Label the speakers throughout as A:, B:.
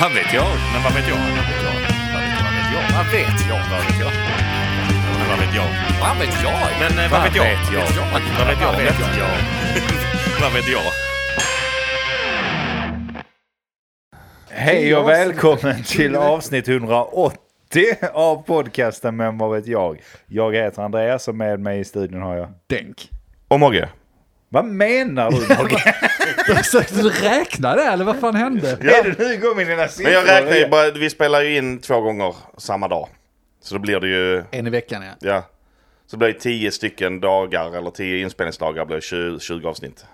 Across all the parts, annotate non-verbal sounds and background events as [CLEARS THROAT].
A: Vad vet jag?
B: Men vad vet jag? Vad vet jag? Vad vet jag? Vad vet jag?
A: Vad vet jag?
B: Vad vet jag? Men vad vet jag?
A: Vad vet jag?
B: Men eh,
A: Vet jag?
B: vad vet jag? Vad vet jag?
A: Vad vet jag?
B: Vad vet jag?
C: Hej och välkommen till avsnitt 180 av podcasten Men vad vet jag? Jag heter Andreas och med mig i studion har jag...
D: Denk. [LAUGHS]
C: Och Mogge. Vad
E: [LAUGHS]
C: menar du Mogge?
D: Försökte du räkna det eller vad fan hände?
C: Är det nu igång med dina siffror?
E: Men jag räknar ju bara, vi spelar ju in två gånger samma dag. Så då blir det ju,
D: En i veckan ja.
E: ja. Så blir det tio stycken dagar, eller tio inspelningsdagar blir 20, 20 avsnitt.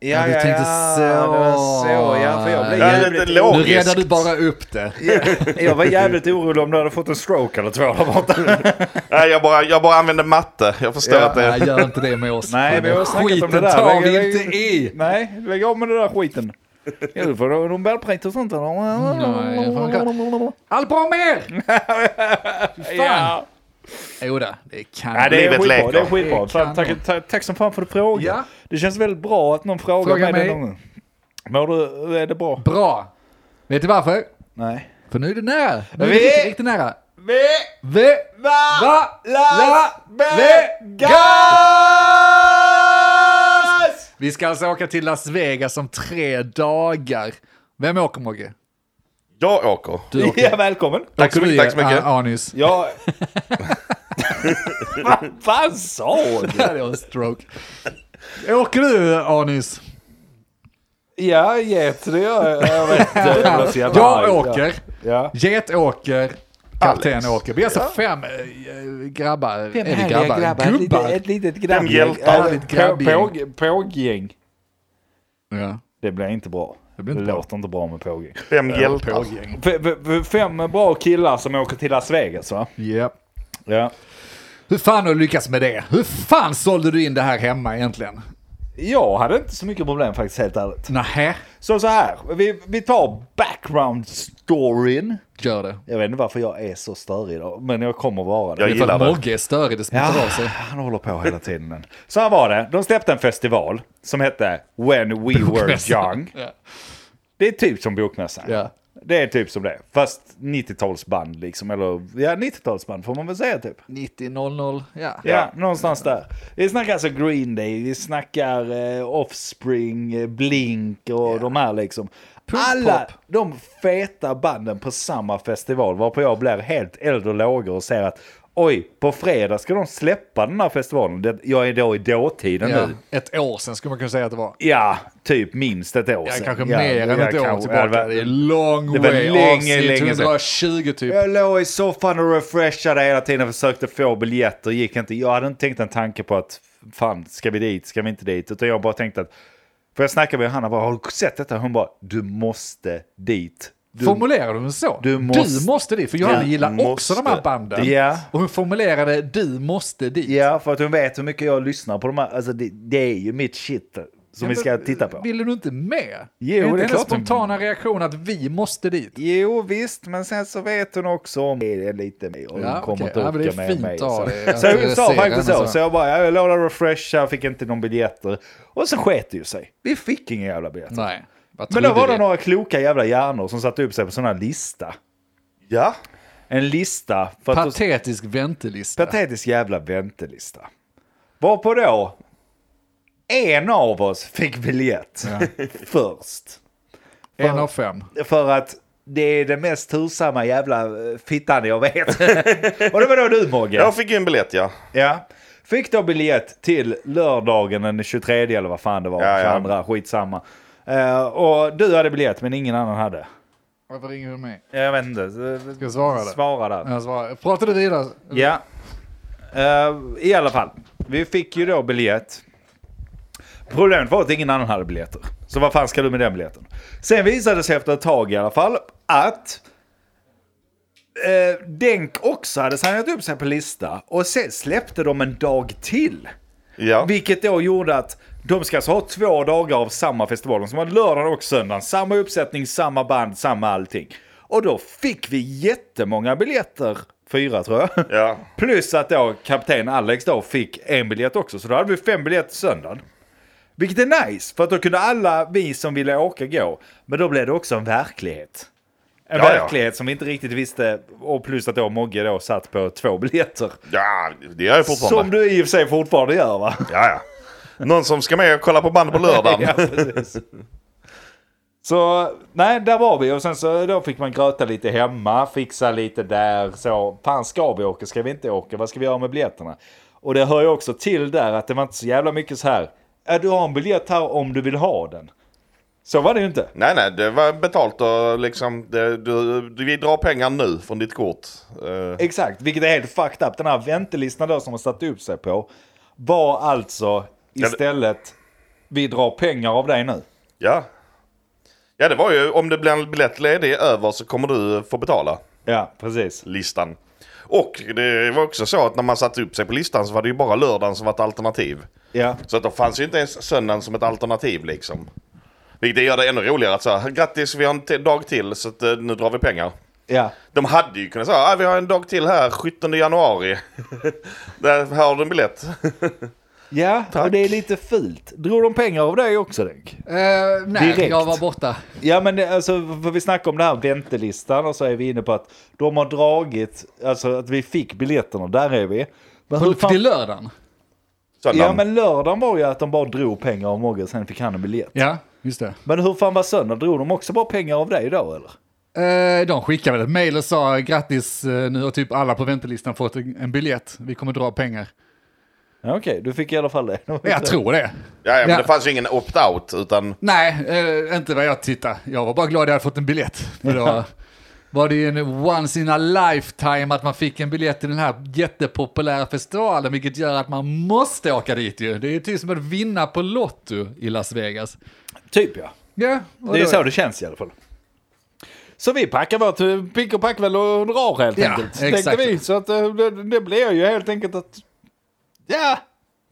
D: Ja, du tänkte så.
C: det var så. Ja, för jag blev
E: Ja, det är
C: jävligt...
E: lite
C: oro-
D: Nu
E: logiskt.
D: redar du bara upp det.
C: Ja, Jag var jävligt orolig om du hade fått en stroke eller två där
E: [LAUGHS]
C: borta.
E: Nej, jag bara, jag bara använder matte. Jag förstår
C: Ja.
E: att det
D: Nej,
E: är...
D: gör inte det med oss.
C: Nej, vi har snackat om
D: Skiten
C: det där.
D: tar vi
C: Lägg-
D: inte
C: lägg-
D: i.
C: Nej, lägg av med den där skiten. Ja, du får Nobelpriset och sånt.
D: Nej, fan. Allt bra med er! Fy fan.
C: [LAUGHS] Ja.
D: Jodå, det kan
C: Ja, det är
E: Livet
C: skitbra.
E: leker.
C: Det är skitbra.
D: Det kan
C: Tack, tack, tack, tack som fan för att du frågar.
D: Ja.
C: Det känns väldigt bra att någon frågar mig.
D: Fråga
C: det
D: mig.
C: någon gång. Mår du? Är det bra?
D: Bra. Vet du varför?
C: Nej.
D: För nu är det nära. Nu är det
C: Vi-
D: riktigt, riktigt nära.
C: Vi
D: V...
C: va,
D: Va... La...
C: vegas!
D: Vi ska alltså åka till Las Vegas om tre dagar. Vem åker Mogge?
E: Jag åker.
D: Du åker.
C: [LAUGHS] Ja, välkommen.
E: Tack så
D: Du
E: mycket.
D: är
E: Tack så mycket.
D: a-
C: [LAUGHS]
D: Anis.
C: Ja. Vad fan sa du?
D: Det var en stroke. Åker du Anis?
C: Ja, get, det gör jag. Jag vet inte. Jag blir så jävla arg.
D: Jag åker.
C: Ja.
D: Get åker. Kapten
E: Alex.
D: åker. Vi är alltså fem eh, grabbar. Fem
C: härliga grabbar. Ett litet-
D: Gubbar.
C: Ett litet
E: Fem
C: grabbgäng.
E: hjältar.
D: Härligt grabbgäng.
C: Påg- påg- Påggäng.
D: Ja.
C: Det blir inte bra. Det,
D: Det blir inte bra.
C: låter inte bra med påggäng.
E: Fem hjältar.
D: Pågäng.
C: F- f- fem bra killar som åker till Las Vegas va?
D: Ja.
C: Ja.
D: Hur fan har du lyckats med det? Hur fan sålde du in det här hemma egentligen?
C: Jag hade inte så mycket problem faktiskt helt ärligt.
D: Nähä,
C: Så så här, vi, vi tar background storyn.
D: gör det.
C: Jag vet inte varför jag är så störig idag, men jag kommer vara det.
E: Jag
D: Det är för
E: gillar
D: att
E: det.
D: Mogge är störig, det smittar av sig.
C: han håller på hela tiden. Så här var det, de släppte en festival som hette When We Were
D: Bokmässan.
C: Young.
D: Ja.
C: Det är typ som bokmässan.
D: Ja.
C: Det är typ som det, fast 90-talsband liksom, eller ja 90-talsband får man väl säga typ.
D: 90, 00, ja.
C: Ja, någonstans där. Vi snackar alltså Green Day, vi snackar eh, Offspring, eh, Blink och de här liksom. Alla
D: pop.
C: de feta banden på samma festival varpå jag blir helt eld och lågor och säger att oj, på fredag ska de släppa den här festivalen. Det- Jag är då i dåtiden
D: ja.
C: nu.
D: Ett år sedan skulle man kunna säga att det var.
C: Ja, typ minst ett år
D: Ja,
C: sedan.
D: kanske
C: Ja,
D: mer än
C: ja,
D: ett år
C: kanske-
D: tillbaka.
C: ja, det var-
D: det är long
C: det var
D: way
C: länge,
D: avsnitt.
C: länge
D: det
C: sedan.
D: var 20 typ.
C: Jag låg i soffan och refreshade hela tiden och försökte få biljetter. Gick inte. Jag hade inte tänkt en tanke på att fan, ska vi dit, ska vi inte dit? Utan jag bara tänkte att, för jag snackade med Hanna, bara, har du sett detta? Hon bara, du måste dit. Du,
D: Formulerade hon så?
C: du måste-
D: du måste dit, för Johanna
C: Du
D: gillar också
E: måste.
D: de här banden.
C: Ja.
D: Och hon formulerade du måste dit.
C: ja, för att hon vet hur mycket jag lyssnar på de här. Alltså det, det är ju mitt shit som vi ska titta på.
D: Vill du inte med?
C: Jo, det
D: är
C: är
D: inte hennes
C: klart.
D: spontana reaktion att vi måste dit?
C: Jo visst, men sen så vet hon också om det lite mer. Och
D: Ja,
C: hon kommer
D: okej.
C: inte
D: Ja, men det är
C: orka med
D: fint
C: mig.
D: av
C: så.
D: dig
C: [LAUGHS]
D: att
C: så hon sa
D: adressera
C: faktiskt
D: henne
C: så.
D: så.
C: Så jag bara, jag lånade refresha, fick inte någon biljetter. Och så sket det ju sig. Vi fick inga jävla biljetter.
D: Nej. Vad
C: Men då
D: trodde
C: var det
D: vi?
C: några kloka jävla hjärnor som satte upp sig på sån här lista.
E: Ja.
C: En lista. För att
D: Patetisk väntelista.
C: Patetisk jävla väntelista. Varpå då en av oss fick biljett [LAUGHS] först.
D: en av fem.
C: För att det är den mest tursamma jävla eh, fittan jag vet. [LAUGHS] och det var då du Mogge.
E: Jag fick ju en biljett, ja.
C: Ja. Fick då biljett till lördagen den 23 eller vad fan det var.
E: Ja, ja.
C: 22, skitsamma. Eh, och du hade biljett men ingen annan hade.
D: Varför ringer du mig?
C: Jag vet inte. Ska
D: jag svara det?
C: Svara där.
D: Jag svarar. Pratar du vidare?
C: Ja. Eh, I alla fall. Vi fick ju då biljett. Problemet var att ingen annan hade biljetter. Så vad fan ska du med den biljetten? Sen visade det sig efter ett tag i alla fall att eh, Denk också hade signat upp sig på lista och sen släppte de en dag till.
E: Ja.
C: Vilket då gjorde att de ska alltså ha två dagar av samma festival. De som var lördagen och söndagen. Samma uppsättning, samma band, samma allting. Och då fick vi jättemånga biljetter. Fyra tror jag.
E: Ja.
C: Plus att då kapten Alex då fick en biljett också. Så då hade vi fem biljetter söndagen. Vilket är nice, för att då kunde alla vi som ville åka gå. Men då blev det också en verklighet. En
E: Ja, ja.
C: verklighet som vi inte riktigt visste. Och plus att då Mogge då satt på två biljetter.
E: Ja, det gör jag fortfarande.
C: Som du i och för sig fortfarande gör va?
E: Ja, ja. Någon som ska med och kolla på band på lördagen.
C: [LAUGHS] Ja, precis. Så nej, där var vi och sen så då fick man gröta lite hemma, fixa lite där så. Fan ska vi åka, ska vi inte åka, vad ska vi göra med biljetterna? Och det hör ju också till där att det var inte så jävla mycket så här. Äh, du har en biljett här om du vill ha den. Så var det ju inte.
E: Nej, nej, det var betalt och liksom, det, du, du, vi drar pengar nu från ditt kort. Eh,
C: Exakt, vilket är helt fucked up. Den här väntelistan då som man satte upp sig på var alltså
E: det-
C: istället vi drar pengar av dig nu.
E: ja. Ja, det var ju om det blir en biljett ledig över så kommer du få betala
C: Ja, precis.
E: listan. Och det var också så att när man satte upp sig på listan så var det ju bara lördagen som var ett alternativ.
C: Ja,
E: Så att då fanns ju inte ens söndagen som ett alternativ liksom. Vilket gör det ännu roligare att säga grattis vi har en t- dag till så att, eh, nu drar vi pengar.
C: ja.
E: De hade ju kunnat säga ah, vi har en dag till här 17 januari. [LAUGHS] Där här har du en biljett.
C: Ja, och det är lite fult. Drog de pengar av dig också, Denk?
D: Eh, nej,
C: Direkt.
D: jag var borta.
C: Ja, men det- alltså, för vi snackar om den här väntelistan och så är vi inne på att de har dragit, alltså att vi fick biljetterna, där är vi. Men hur
D: På, till
C: fan...
D: lördagen.
E: Söndagen.
C: Ja, men lördagen var ju att de bara drog pengar av Mogge, sen fick han en biljett.
D: Ja, just det.
C: Men hur fan var söndagen? Drog de också bara pengar av dig då, eller?
D: Eh, de skickade väl ett mejl och sa grattis, eh, nu har typ alla på väntelistan fått en en biljett. Vi kommer dra pengar.
C: Ja, Okej, du fick i alla fall det.
D: Jag tror det.
E: ja, ja, men
D: Ja.
E: det fanns ju ingen opt-out utan
D: Nej, eh, inte vad jag tittar. Jag var bara glad jag hade fått en biljett. För [LAUGHS] då var det ju en once in a lifetime att man fick en biljett till den här jättepopulära festivalen, vilket gör att man måste åka dit ju. Det är ju typ som att vinna på Lotto i Las Vegas.
C: Typ ja.
D: Ja,
C: Det är så det känns i alla fall. Så vi packar vårt eh, pick och packväll och drar helt
D: Ja,
C: enkelt.
D: exakt.
C: Tänkte vi. Så att eh, det, det blir ju helt enkelt att... Ja,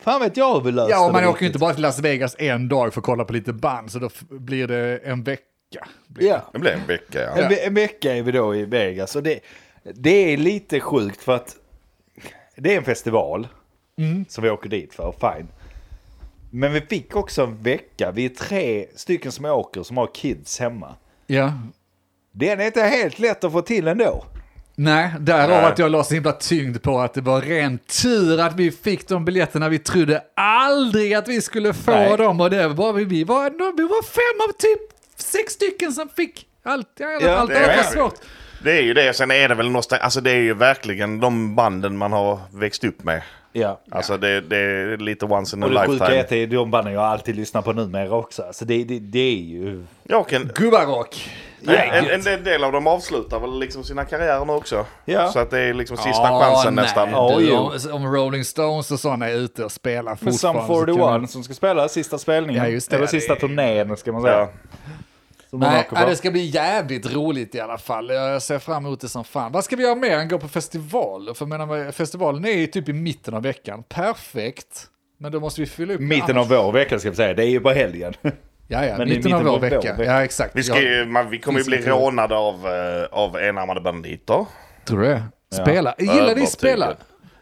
C: fan vet jag hur vi löste
D: Ja, och man
C: det
D: åker
C: riktigt.
D: ju inte bara till Las Vegas en dag för att kolla på lite band, så då f- blir det en vecka. Blir-
C: Ja.
E: det blev en vecka. Ja.
C: En, ve- en vecka är vi då i Vegas. Och det, det är lite sjukt för att det är en festival
D: Mm.
C: som vi åker dit för, fine. Men vi fick också en vecka. Vi är tre stycken som åker som har kids hemma.
D: Ja.
C: Den är inte helt lätt att få till ändå.
D: Nej, därav
E: Nej.
D: att jag la så himla tyngd på att det var ren tur att vi fick de biljetterna. Vi trodde aldrig att vi skulle få
C: Nej.
D: dem och det var, vi, var, ändå- vi var fem av typ sex stycken som fick allt. Ja,
C: Ja,
D: allt
C: det
D: annat
E: är
D: var
E: det.
D: svårt.
E: Det är ju det, sen är det väl någonstans, alltså det är ju verkligen de banden man har växt upp med.
C: Ja.
E: Alltså det, det är lite once in a
C: Och det sjuka är
E: lifetime.
C: att det är de banden jag alltid lyssnar på numera också. Alltså det, det, det är ju...
E: Ja, och en,
D: Gubbarock.
E: nej,
C: Ja.
E: en, en del av dem avslutar väl liksom sina karriärer nu också.
C: Ja.
E: Så att det är liksom sista
D: Ja,
E: chansen
D: nej,
E: nästan.
C: Ja.
D: Du,
C: jo.
D: om, om Rolling Stones och sådana är ute och spelar
C: Med Sum
D: fortfarande. så kan man-
C: 41 som ska spela sista spelningen.
D: Ja, just det.
C: Eller
D: Ja,
C: sista
D: det-
C: turnén ska man säga.
E: Ja.
C: Som de
D: Nej,
C: åker på.
D: ja, det ska bli jävligt roligt i alla fall. Jag ser fram emot det som fan. Vad ska vi göra mer än gå på festival? För jag menar, festivalen är ju typ i mitten av veckan. Perfekt. Men då måste vi fylla upp. med
C: Mitten av
D: annat.
C: vår vecka ska vi säga. Det är ju på helgen. [LAUGHS]
D: Ja, ja,
C: Men
D: mitten,
C: det är
D: av
C: mitten
D: vår
C: av vår
D: vecka.
C: vecka.
D: Ja, exakt.
E: Vi, ska,
D: Jag-
E: ju- man, vi kommer ju bli
D: Finns inte.
E: rånade av, eh, av enarmade banditer.
D: Tror du det? Spela. Gillar ni
E: Övertygad.
D: spela?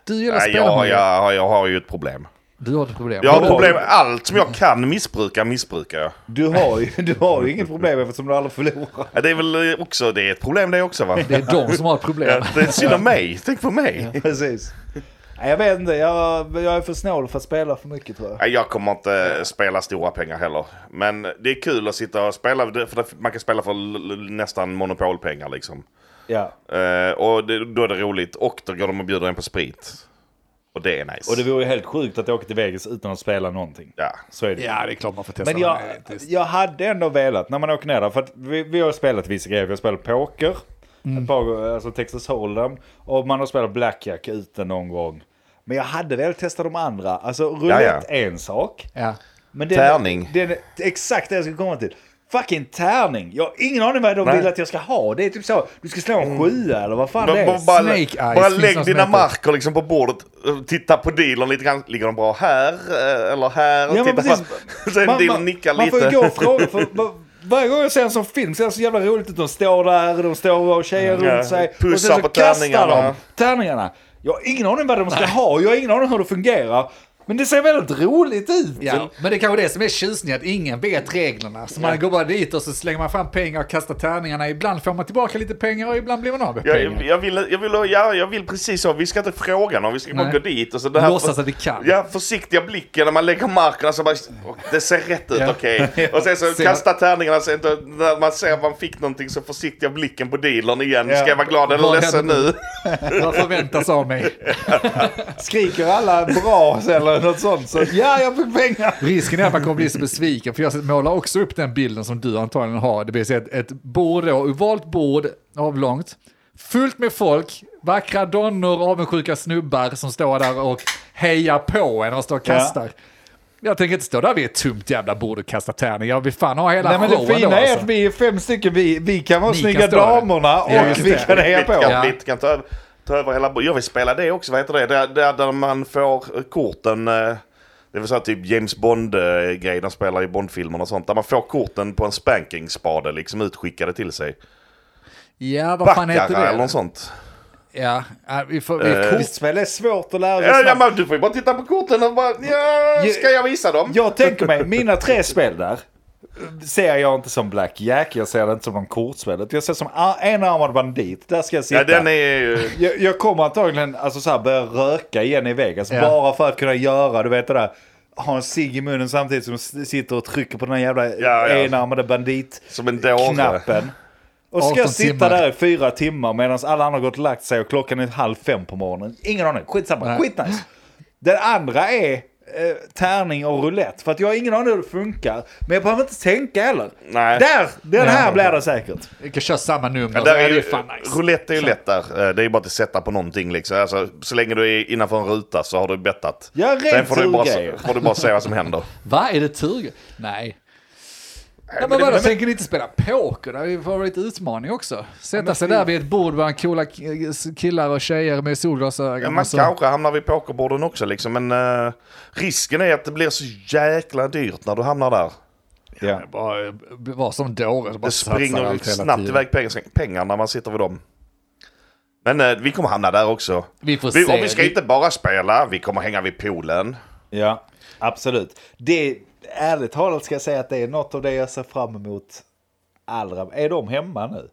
D: Du gillar
E: Nej,
D: spela,
E: jag,
D: Maria.
E: jag, jag har ju ett problem.
D: Du har ett problem.
E: Jag har
C: Vadå?
E: problem med allt som jag kan missbruka, missbrukar jag.
C: Du har ju, du har ju inget problem eftersom du aldrig förlorar.
E: Ja, Det är väl eh, också, det är ett problem det också va?
D: Det är de som har ett problem.
E: [LAUGHS] Ja, Det är synd om mig, tänk på mig.
C: [LAUGHS] Precis. Nej, jag vet inte. Jag, jag är för snål för att spela för mycket tror jag.
E: Nej, Jag kommer inte spela stora pengar heller. Men det är kul att sitta och spela, för det- man kan spela för l- l- nästan monopolpengar liksom.
C: Ja.
E: Eh, och det, då är det roligt, och då går de och bjuder en på sprit. Och det är nice.
C: Och det vore ju helt sjukt att åka till Vegas utan att spela någonting.
E: Ja.
C: Så är det ju.
D: Ja, det är klart man får testa.
C: Men jag,
D: det. Det är-
C: jag hade ändå velat när man åker ner där. För att vi, vi har spelat vissa grejer. Vi har spelat poker. Ett par, alltså Texas Hold'em. Och man har spelat blackjack ute någon gång. Men jag hade velat testa de andra. Alltså roulette är en sak.
D: Ja.
C: Men den,
E: Tärning.
C: Den, exakt det jag skulle komma till. Fucking tärning. Jag har ingen aning vad de
E: Nej.
C: vill att jag ska ha. Det är typ så. Du ska slå en sjua eller vad fan det
E: Bara,
C: är.
E: bara,
D: Snake eyes
E: bara
D: finns
E: lägg
D: något
E: dina
D: som heter.
E: marker liksom på bordet, eh, titta på dealern lite grann. Ligger de bra här eh, eller här?
C: Ja, men
E: titta
C: precis.
E: [LAUGHS] på- Sen dealern nickar
C: man
E: lite.
C: får ju
E: [LAUGHS]
C: gå och fråga. För, var, varje gång jag ser en sån film ser det så jävla roligt ut. De står där, de står och tjejer
E: Ja,
C: runt sig.
E: pussar
C: och sen så
E: på
C: kastar
E: tärningarna.
C: de tärningarna. Jag har ingen aning vad de ska ha, jag har ingen aning hur det fungerar. Men det ser väldigt roligt ut.
D: Ja, men det är kanske det som är tjusningen, att ingen vet reglerna. Så man går bara dit och så slänger man fram pengar och kastar tärningarna. Ibland får man tillbaka lite pengar och ibland blir man av med
E: Jag,
D: pengar.
E: jag, jag, vill, jag, vill, ja, jag vill precis så, vi ska inte fråga någon, vi ska bara
D: Nej.
E: gå dit. Och så det här
D: Låtsas att vi kan.
E: Ja, försiktiga blicken när man lägger marken och så bara, "Åh, det ser rätt ut,
D: [LAUGHS] Ja.
E: okej. Och sen så
D: Ser-
E: kasta tärningarna, så inte, när man ser att man fick någonting så försiktiga blicken på dealern igen.
C: Ja.
E: Ska jag vara glad eller
D: Vad
E: ledsen
D: händer
E: nu?
D: Vad förväntas av mig?
C: Skriker alla bra eller något sånt så ja, jag fick pengar.
D: Risken är att man kommer bli så besviken, för jag målar också upp den bilden som du antagligen har. Det vill säga ett, ett bord, då, ovalt bord, avlångt, fullt med folk, vackra donnor, avundsjuka snubbar som står där och hejar på en och står och
C: Ja.
D: kastar. Jag tänker inte stå där vid ett tomt jävla bord och kasta tärning. Jag vill fan ha hela
C: Nej men
D: showen
C: det fina
D: då,
C: är
D: alltså.
C: att vi är fem stycken, vi, vi kan vara
D: Ni
C: snygga
D: kan stå där.
C: damerna och
D: [LAUGHS] Ja, just
C: vi
D: det.
C: kan heja på.
E: Blicken,
D: Ja.
E: blicken, ta, över- ta över hela bordet. Jag vill spela det också, vad heter det? Där, där, där man får korten... eh, Det vill säga typ James Bond-grejen de spelar i Bond-filmerna och sånt. Där man får korten på en spanking-spade liksom utskickade till sig.
D: Ja, vad fan heter
E: Backar
D: det?
E: eller något sånt. Eh,
D: Ja, ja, vi får... Vi kort...
C: Kortspel är svårt att lära sig
E: Ja, ja,
C: snabbt.
E: men du får ju bara titta på korten och bara... Ja, ska jag visa dem?
C: Jag tänker mig, mina tre spel där ser jag inte som blackjack, jag ser det inte som någon kortspel. Jag ser som a- enarmad bandit, där ska jag sitta.
E: Ja, den är ju...
C: jag, jag kommer antagligen alltså, så här, börja röka igen i Vegas,
D: Ja.
C: bara för att kunna göra, du vet det där. Ha en cigg i munnen samtidigt som s- sitter och trycker på den här jävla
E: ja.
C: enarmade bandit
E: Som en dåre.
C: knappen. Och ska
D: 18
C: jag sitta
D: timmar.
C: där i fyra timmar medan alla andra har gått och lagt sig och klockan är halv fem på morgonen. Ingen aning, skitsamma,
D: Nej.
C: skitnice. Den andra är eh, tärning och roulette. För att jag har ingen aning hur det funkar. Men jag behöver inte tänka heller.
E: Nej.
C: Där! Den här
D: Nej.
C: blir det säkert.
D: Vi kan köra samma nummer.
E: Ja,
D: så
E: där är
D: det
E: ju,
D: fan nice.
E: roulette är ju lätt där. Eh, Det är ju bara att sätta på någonting liksom. Alltså, så länge du är innanför en ruta så har du bettat.
C: Ja, rent
E: Sen får du, bara,
C: turgrejer.
E: får du bara se vad som händer.
D: Va, är det tur? Nej. Ja,
E: men
D: men
E: det-
D: vadå,
E: men-
D: tänker ni inte spela poker? Det har ju varit utmaning också. Sätta sig där vid ett bord bland coola k- killar och tjejer med
E: Ja,
D: solglasögon.
E: man
D: och så-
E: kanske hamnar vid pokerborden också liksom. Men eh, risken är att det blir så jäkla dyrt när du hamnar där.
C: Ja.
D: Bara, eh, Var som dåre. bara
E: Det
D: satsar
E: springer
D: allt hela
E: snabbt
D: tiden.
E: iväg pengar, pengar när man sitter vid dem. Men eh, vi kommer hamna där också.
D: Vi får
E: Vi,
D: se.
E: och vi ska inte bara spela, vi kommer hänga vid poolen.
C: Ja, absolut. Det, ärligt talat ska jag säga att det är något av det jag ser fram emot allra... Är de hemma nu?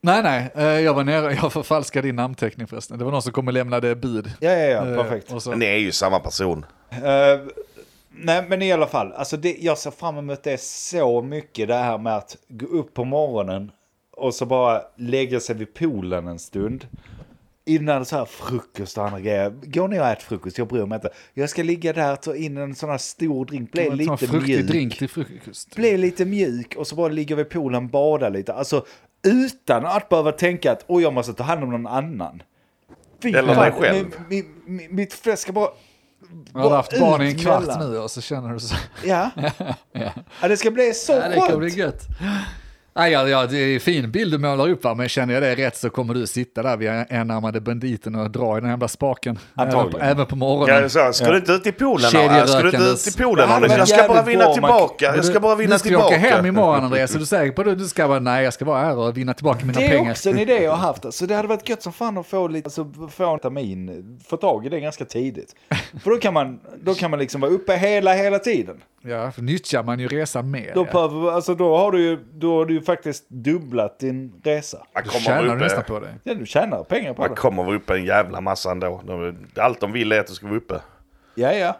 D: Nej, nej. eh, Jag var nere. Jag förfalskade din namnteckning förresten. Det var någon som kom och lämnade bud.
C: Ja, ja,
D: Eh,
C: ja, perfekt.
D: och så-
E: Ni är ju samma person.
C: Eh, nej, men i alla fall. Alltså det, jag ser fram emot det så mycket. Det här med att gå upp på morgonen och så bara lägga sig vid poolen en stund. Innan så här frukost och andra grejer. Gå ner och ät frukost, jag bryr mig inte. Jag ska ligga där, ta in en sån här stor drink, bli
D: Man tar
C: lite
D: fruktig
C: mjuk.
D: drink till frukost.
C: Bli lite mjuk och så bara ligga vid poolen, bada lite. Alltså utan att behöva tänka att oj, jag måste ta hand om någon annan. Fy
E: Eller
C: fan,
E: dig själv.
C: mi- mi- mi- Mitt fläsk ska bara...
D: Jag har haft barn i en kvart
C: utmellan.
D: nu och så känner du så. [LAUGHS]
C: Ja. ja, det ska bli så
D: Ja, det kommer bli
C: skönt.
D: gött. Nej, ja, ja, det är en fin bild du målar upp, va? men känner jag det rätt så kommer du sitta där vid enarmade banditen och dra i den här jävla spaken. Även på,
C: Antagligen.
D: även på morgonen.
E: Ja, så, ska du inte ut i poolen Arne?
D: Kedjerökandes.
E: Ska du inte ut i poolen
C: Det hade
E: Arne? Jag
C: varit
E: ska bara
C: jävligt
E: vinna
C: bra,
E: tillbaka. Jag ska bara vinna
D: nu ska jag åka
E: tillbaka.
D: hem imorgon Andreas, är du säker på det? Du ska vara, nej jag ska vara här och vinna tillbaka mina
C: Det är
D: pengar.
C: också en idé jag har haft. Så det hade varit gött som fan att få lite, alltså få en termin, få tag i det ganska tidigt. För då kan man, då kan man liksom vara uppe hela, hela tiden.
D: Ja, för nyttjar man ju resan mer.
C: Då,
D: ja.
C: behöver, alltså, då har du ju, då har du ju faktiskt dubblat din resa.
E: Man
D: Då
E: kommer, eh.
D: tjänar du
E: vara
D: nästan
E: uppe.
D: på det.
C: Ja, du tjänar pengar på
E: man
C: det.
E: kommer vara uppe en jävla massa ändå. De- Allt de vill är att du ska vara uppe.
C: Ja, ja.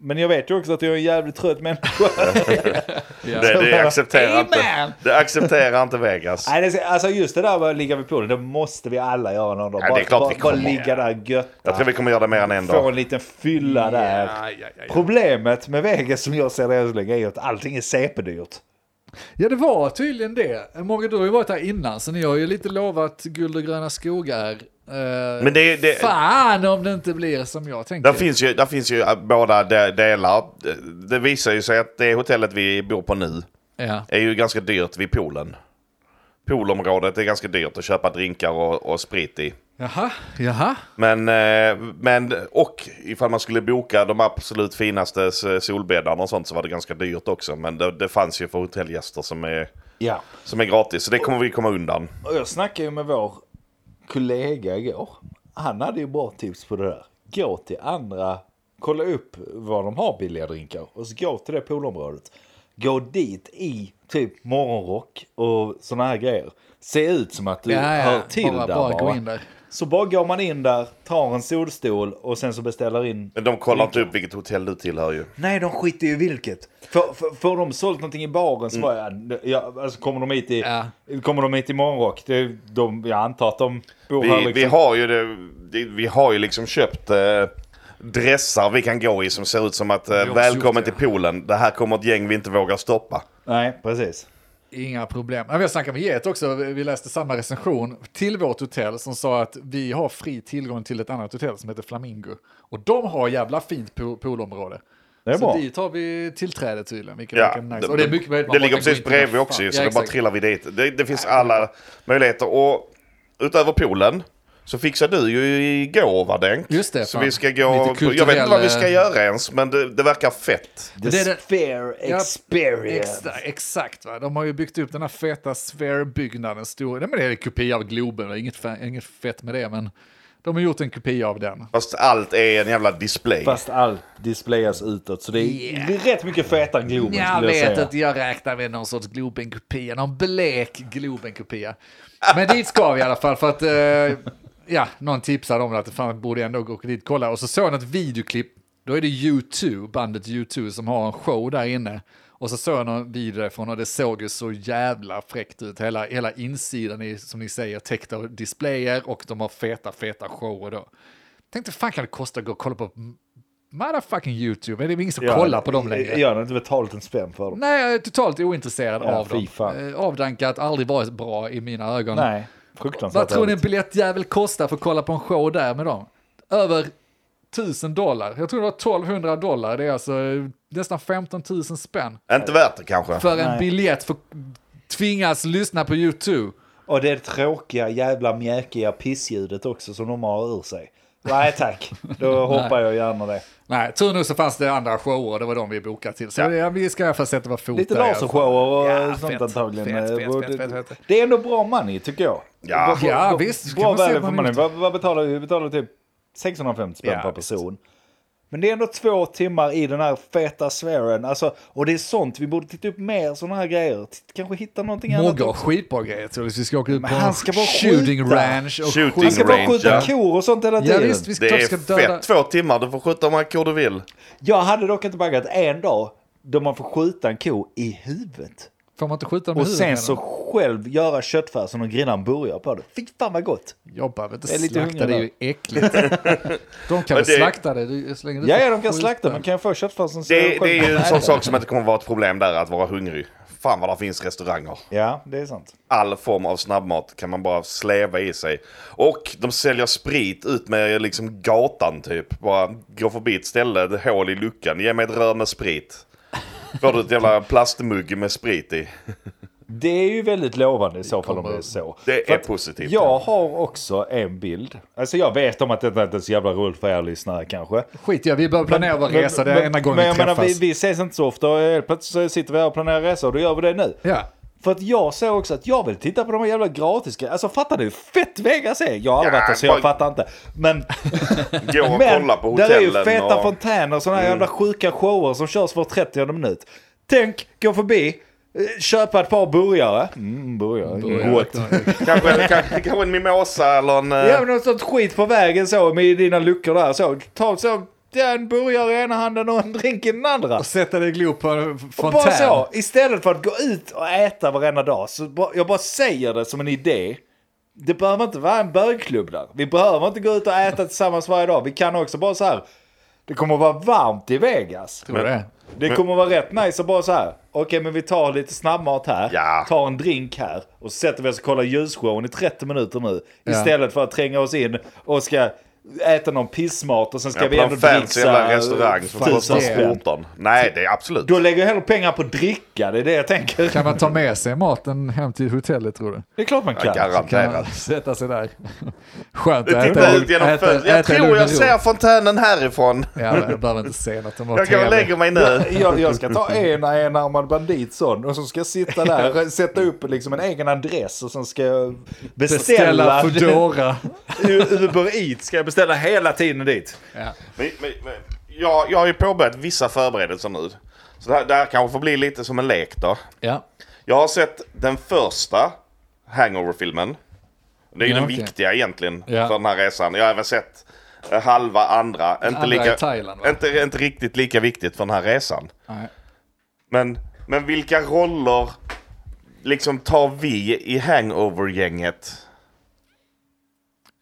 C: Men jag vet ju också att jag är en jävligt
E: [LAUGHS]
C: trött människa.
D: Ja.
E: Det, det
C: bara,
D: [LAUGHS]
E: accepterar
D: "Hey,
E: inte.
D: man!"
E: Det accepterar inte Vegas.
C: Nej, det ska, alltså just det där med att ligga vid poolen, det måste vi alla göra någon dag.
E: Ja, det är klart
C: bara,
E: vi
C: bara
E: kommer.
C: ligga där götta.
E: Jag tror vi kommer göra det mer än en
C: Få
E: dag.
C: en liten fylla där. Problemet med Vegas som jag ser det än så länge är ju att allting är CP-dyrt.
D: Ja, det var tydligen det. Morgan, du har ju varit här innan, så ni har ju lite lovat guld och gröna skogar. Eh,
E: Men det- det-
D: Fan om det inte blir som jag tänker.
E: Där finns ju, där finns ju eh, båda de- delar. Det- Det visar ju sig att det hotellet vi bor på nu
D: ja.
E: är ju ganska dyrt vid poolen. Poolområdet är ganska dyrt att köpa drinkar och, och sprit i.
D: Jaha, jaha.
E: Men, eh, men, och ifall man skulle boka de absolut finaste s- solbäddarna och sånt så var det ganska dyrt också. Men det, det fanns ju för hotellgäster som är,
C: Ja.
E: som är gratis. Så det kommer vi komma undan.
C: Och jag snackade ju med vår kollega igår. Han hade ju bra tips på det där. Gå till andra kolla upp var de har billiga drinkar och så gå till det poolområdet. Gå dit i typ morgonrock och såna här grejer. Se ut som att du
D: Ja, ja.
C: hör till
D: Bara-
C: där
D: bara
C: bara.
D: gå in där.
C: Så bara går man in där, tar en solstol och sen så beställer in.
E: Men de kollar inte upp vilket hotell du tillhör ju.
C: Nej, de skiter ju i vilket. Får, får, får de sålt någonting i baren så bara, ja, ja, alltså kommer de hit i,
D: Mm. Ja.
C: kommer de hit i morgonrock, det, de, jag antar att de bor här
E: Vi,
C: liksom.
E: vi har ju det, det- vi har ju liksom köpt eh, dressar vi kan gå i som ser ut som att eh,
D: också
E: välkommen
D: gjort,
E: till poolen. Det här kommer ett gäng vi inte vågar stoppa.
C: Nej, precis.
D: Inga problem. Ja, Vi har snackat med Get också, vi läste samma recension till vårt hotell som sa att vi har fri tillgång till ett annat hotell som heter Flamingo. Och de har jävla fint pool- poolområde.
C: Det är
D: så
C: bra.
D: dit har vi tillträde tydligen, vilket
E: Ja,
D: verkar nice. och det är mycket möjligt man
E: det
D: bara
E: ligger
D: kan gå
E: precis
D: in till den.
E: bredvid också ju,
D: Fan.
E: så
D: ja,
E: det bara
D: exakt.
E: trillar vi dit. Det, det finns alla möjligheter. Och utöver poolen så fixade du ju igår va Denk?
D: Just det,
E: Så
D: fan.
E: vi ska gå...
D: Lite
E: Jag vet inte vad vi ska
D: kulturell,
E: göra ens, men det, det verkar fett.
C: The
D: Det är det-
C: sphere
D: Ja,
C: experience.
D: Extra, exakt, va? de har ju byggt upp den här feta sfärbyggnaden. Stor, nej, men det är en kopia av Globen, och inget, fa- inget fett med det, men de har gjort en kopia av den.
E: Fast allt är en jävla display.
C: Fast allt displayas utåt. Så det är,
D: Yeah.
C: det är rätt mycket fetare än Globen
D: Jag
C: skulle jag
D: vet
C: säga.
D: att jag räknar med någon sorts Globen-kopia, någon blek Globen-kopia. Men dit ska vi i alla fall för att, eh, ja, någon tipsade om det, att fan borde ändå gå dit och kolla. Och så såg jag ett videoklipp, då är det U2, bandet U2 som har en show där inne. Och så såg jag någon video därifrån och det såg ju så jävla fräckt ut. Hela, hela insidan är som ni säger täckt av displayer och de har feta, feta shower då. Tänkte fan kan det kosta att gå och kolla på motherfucking YouTube? Men det är väl ingen som kollar på dem längre. Mm.
C: Jag har inte betalt en spänn för dem.
D: Nej, jag är totalt ointresserad
C: Ja,
D: av
C: fy fan.
D: dem. Eh, Avdankat, aldrig varit bra i mina ögon.
C: Nej, fruktansvärt.
D: Vad tror ni en
C: dåligt.
D: biljettjävel kostar för att kolla på en show där med dem? Över 1000 dollar. Jag tror det var 1200 dollar. Det är alltså eh, nästan 15 000 spänn
E: Inte värt det kanske.
D: för en
C: Nej.
D: biljett för tvingas lyssna på YouTube.
C: Och det tråkiga jävla mjäkiga pissljudet också som de har ur sig. Nej tack,
D: [LAUGHS]
C: då hoppar jag gärna det.
D: Nej, tur nu så fanns det andra shower, det var de vi bokade till. Så det, vi ska i alla fall sätta vår fot
C: Lite
D: där i alla fall.
C: lasershower och
D: Ja,
C: sånt
D: fett,
C: antagligen.
D: fett, fett,
C: Och
D: fett,
C: det-
D: fett, fett.
C: Det är ändå bra money tycker jag.
E: Ja.
C: Bra-
D: Ja,
C: bra-
D: visst, kan
C: Bra
D: man se
C: värde
D: på
C: för
D: en
C: money.
D: minut.
C: Vad, vad betalar vi? Vi betalar typ 650 spänn
D: Ja,
C: per
D: visst.
C: person. Men det är ändå två timmar i den här feta sfären. Alltså, och det är sånt, vi borde titta upp mer sådana här grejer. T- Kanske hitta någonting
D: Mogge har
C: annat.
D: skitbra grejer troligtvis. Vi ska åka ut på
C: Men han ska bara
D: en shooting
C: skjuta.
D: ranch och
E: Shooting
C: Han ska bara
E: Ranger.
C: skjuta kor och sånt hela
D: Ja
C: tiden.
D: visst, vi ska,
E: Det
D: klart
E: är
D: ska döda...
E: fett. Två timmar, du får skjuta hur många kor du vill.
C: Jag hade dock inte baggat en dag då man får skjuta en ko i huvudet.
D: Får man inte skjuta dem i
C: Och
D: huvudet?
C: sen
D: med
C: så
D: dem?
C: själv göra köttfärs och grilla en burgare på det. Fy fan vad gott!
D: Jobba, vet du,
C: Jag är lite
D: slakta det är ju
C: hungrig
D: [LAUGHS] äckligt. De kan väl
E: det-
D: slakta det? du- så länge du
C: Ja,
D: får
C: ja, de kan
D: skjuta.
C: slakta, men kan jag få köttfärsen så
E: Det,
C: jag själv
E: det är ju
C: kan
E: en
C: äta
E: sån
C: den?
E: sak som inte kommer vara ett problem där, att vara hungrig. Fan vad det finns restauranger.
C: Ja, det är sant.
E: All form av snabbmat kan man bara släva i sig. Och de säljer sprit ut med liksom gatan typ. Bara gå förbi ett ställe, ett hål i luckan, ge mig ett rör med sprit. Får du ett jävla plastmugg med sprit i.
C: Det är ju väldigt lovande i så fall om det är så.
E: Det
C: För
E: är
C: att
E: positivt.
C: Jag har också en bild. Alltså jag vet om att detta inte är så jävla roligt för er lyssnare kanske.
D: Skit ja, vi bör planera vår resa. Det är enda gången
C: men,
D: vi
C: jag menar,
D: träffas.
C: vi, vi ses inte så ofta och helt plötsligt så sitter vi här och planerar resor och då gör vi det nu.
D: Ja.
C: För att jag såg också att jag vill titta på de här jävla gratis Alltså fattar du hur fett Vegas är? Jag har aldrig
E: Ja,
C: varit där så jag
E: bara-
C: fattar inte. Men,
E: Gå och
C: men
E: kolla på
C: där är ju
E: hotellen.
C: feta
E: och... Mm.
C: fontäner och sådana här jävla sjuka shower som körs var 30 minut. Tänk, gå förbi, eh, köpa ett par burgare. Mm, burgare. Gott.
E: kanske, kanske, kanske en mimosa eller en... eh,
C: Ja men något sånt skit på vägen så med dina luckor där så. Ta så, ja, en burgare i ena handen och en drink i den andra.
D: Och sätta dig i glop på en fontän.
C: Bara så, istället för att gå ut och äta varenda dag. Så bara, jag bara säger det som en idé. Det behöver inte vara en bögklubb där. Vi behöver inte gå ut och äta tillsammans varje dag. Vi kan också bara så här. Det kommer att vara varmt i Vegas.
D: Tror du det?
C: Det kommer att vara rätt nice att bara så här. Okej men vi tar lite snabbmat här.
E: Ja.
C: Tar en drink här. Och så sätter vi oss och kollar ljusshowen i 30 minuter nu.
D: Ja.
C: Istället för att tränga oss in och ska äta någon pissmat och sen ska
E: Ja,
C: vi
E: på
C: ändå
E: en fancy jävla restaurang som
C: tusen
E: kostar
D: det.
C: spänn.
E: 14. Nej, det är absolut.
C: Då lägger jag hellre pengar på dricka, det är det jag tänker.
D: Kan man ta med sig maten hem till hotellet tror du?
C: Det är klart man kan.
D: Kan
E: Garanterat.
D: man sätta sig där? Skönt att äta
E: Titta ut genom fönstret. Jag
D: i lugn
E: tror
D: och
E: jag
D: ro.
E: ser fontänen härifrån.
D: Ja, jag behöver inte se något om vår
E: Jag går och
D: TV.
E: lägger mig nu.
C: Jag, jag ska ta en enarmad bandit sån och så ska jag sitta där och sätta upp liksom en egen adress och sen ska jag beställa. [LAUGHS]
D: Beställa Foodora.
C: Uber Eats ska jag beställa hela tiden dit.
D: Ja.
E: Men, men, men, jag, jag har ju påbörjat vissa förberedelser nu. Så det här, det här kanske får bli lite som en lek då.
D: Ja.
E: Jag har sett den första Hangover-filmen. Det är ju
D: Ja,
E: den
D: okej.
E: viktiga egentligen
D: Ja.
E: för den här resan. Jag har även sett eh, halva andra. Inte,
D: andra
E: lika,
D: i Thailand, va?
E: inte, inte riktigt lika viktigt för den här resan.
D: Nej.
E: Men, men vilka roller liksom tar vi i Hangover-gänget?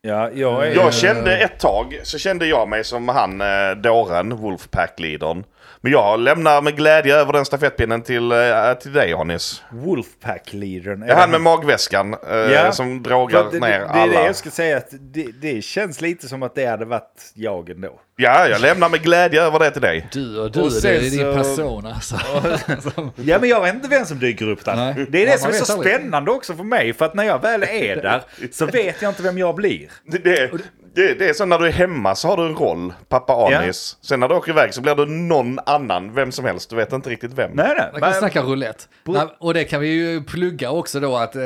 C: Ja, jag är...
E: Jag kände ett tag, så kände jag mig som han eh, dåren, Wolfpack-leadern. Men jag lämnar med glädje över den stafettpinnen till, eh, till dig Hannes.
C: Wolfpack-leadern.
E: Det är han med magväskan eh,
C: Ja.
E: som
C: För
E: drogar
C: att det,
E: ner
C: det, det är
E: alla.
C: det jag ska säga, att det, det känns lite som att det hade varit jag ändå.
E: Ja, jag lämnar med glädje över det till dig.
D: Du och du,
C: Och
D: det
C: sen
D: är din
C: så-
D: person alltså. [LAUGHS] Som-
C: Ja, men jag vet inte vem som dyker upp där.
D: Nej.
C: Det är det
D: Nej,
C: som är
D: man
C: så
D: vet aldrig.
C: spännande också för mig, för att när jag väl
D: [LAUGHS]
C: är där så vet jag inte vem jag blir.
E: Det, det, det, det är så när du är hemma så har du en roll, pappa Anis. Sen när du åker iväg så blir du någon annan, vem som helst. Du vet inte riktigt vem.
C: Nej, nej.
D: Man kan
C: men-
D: snacka roulette. Nej, och det kan vi ju plugga också då att eh,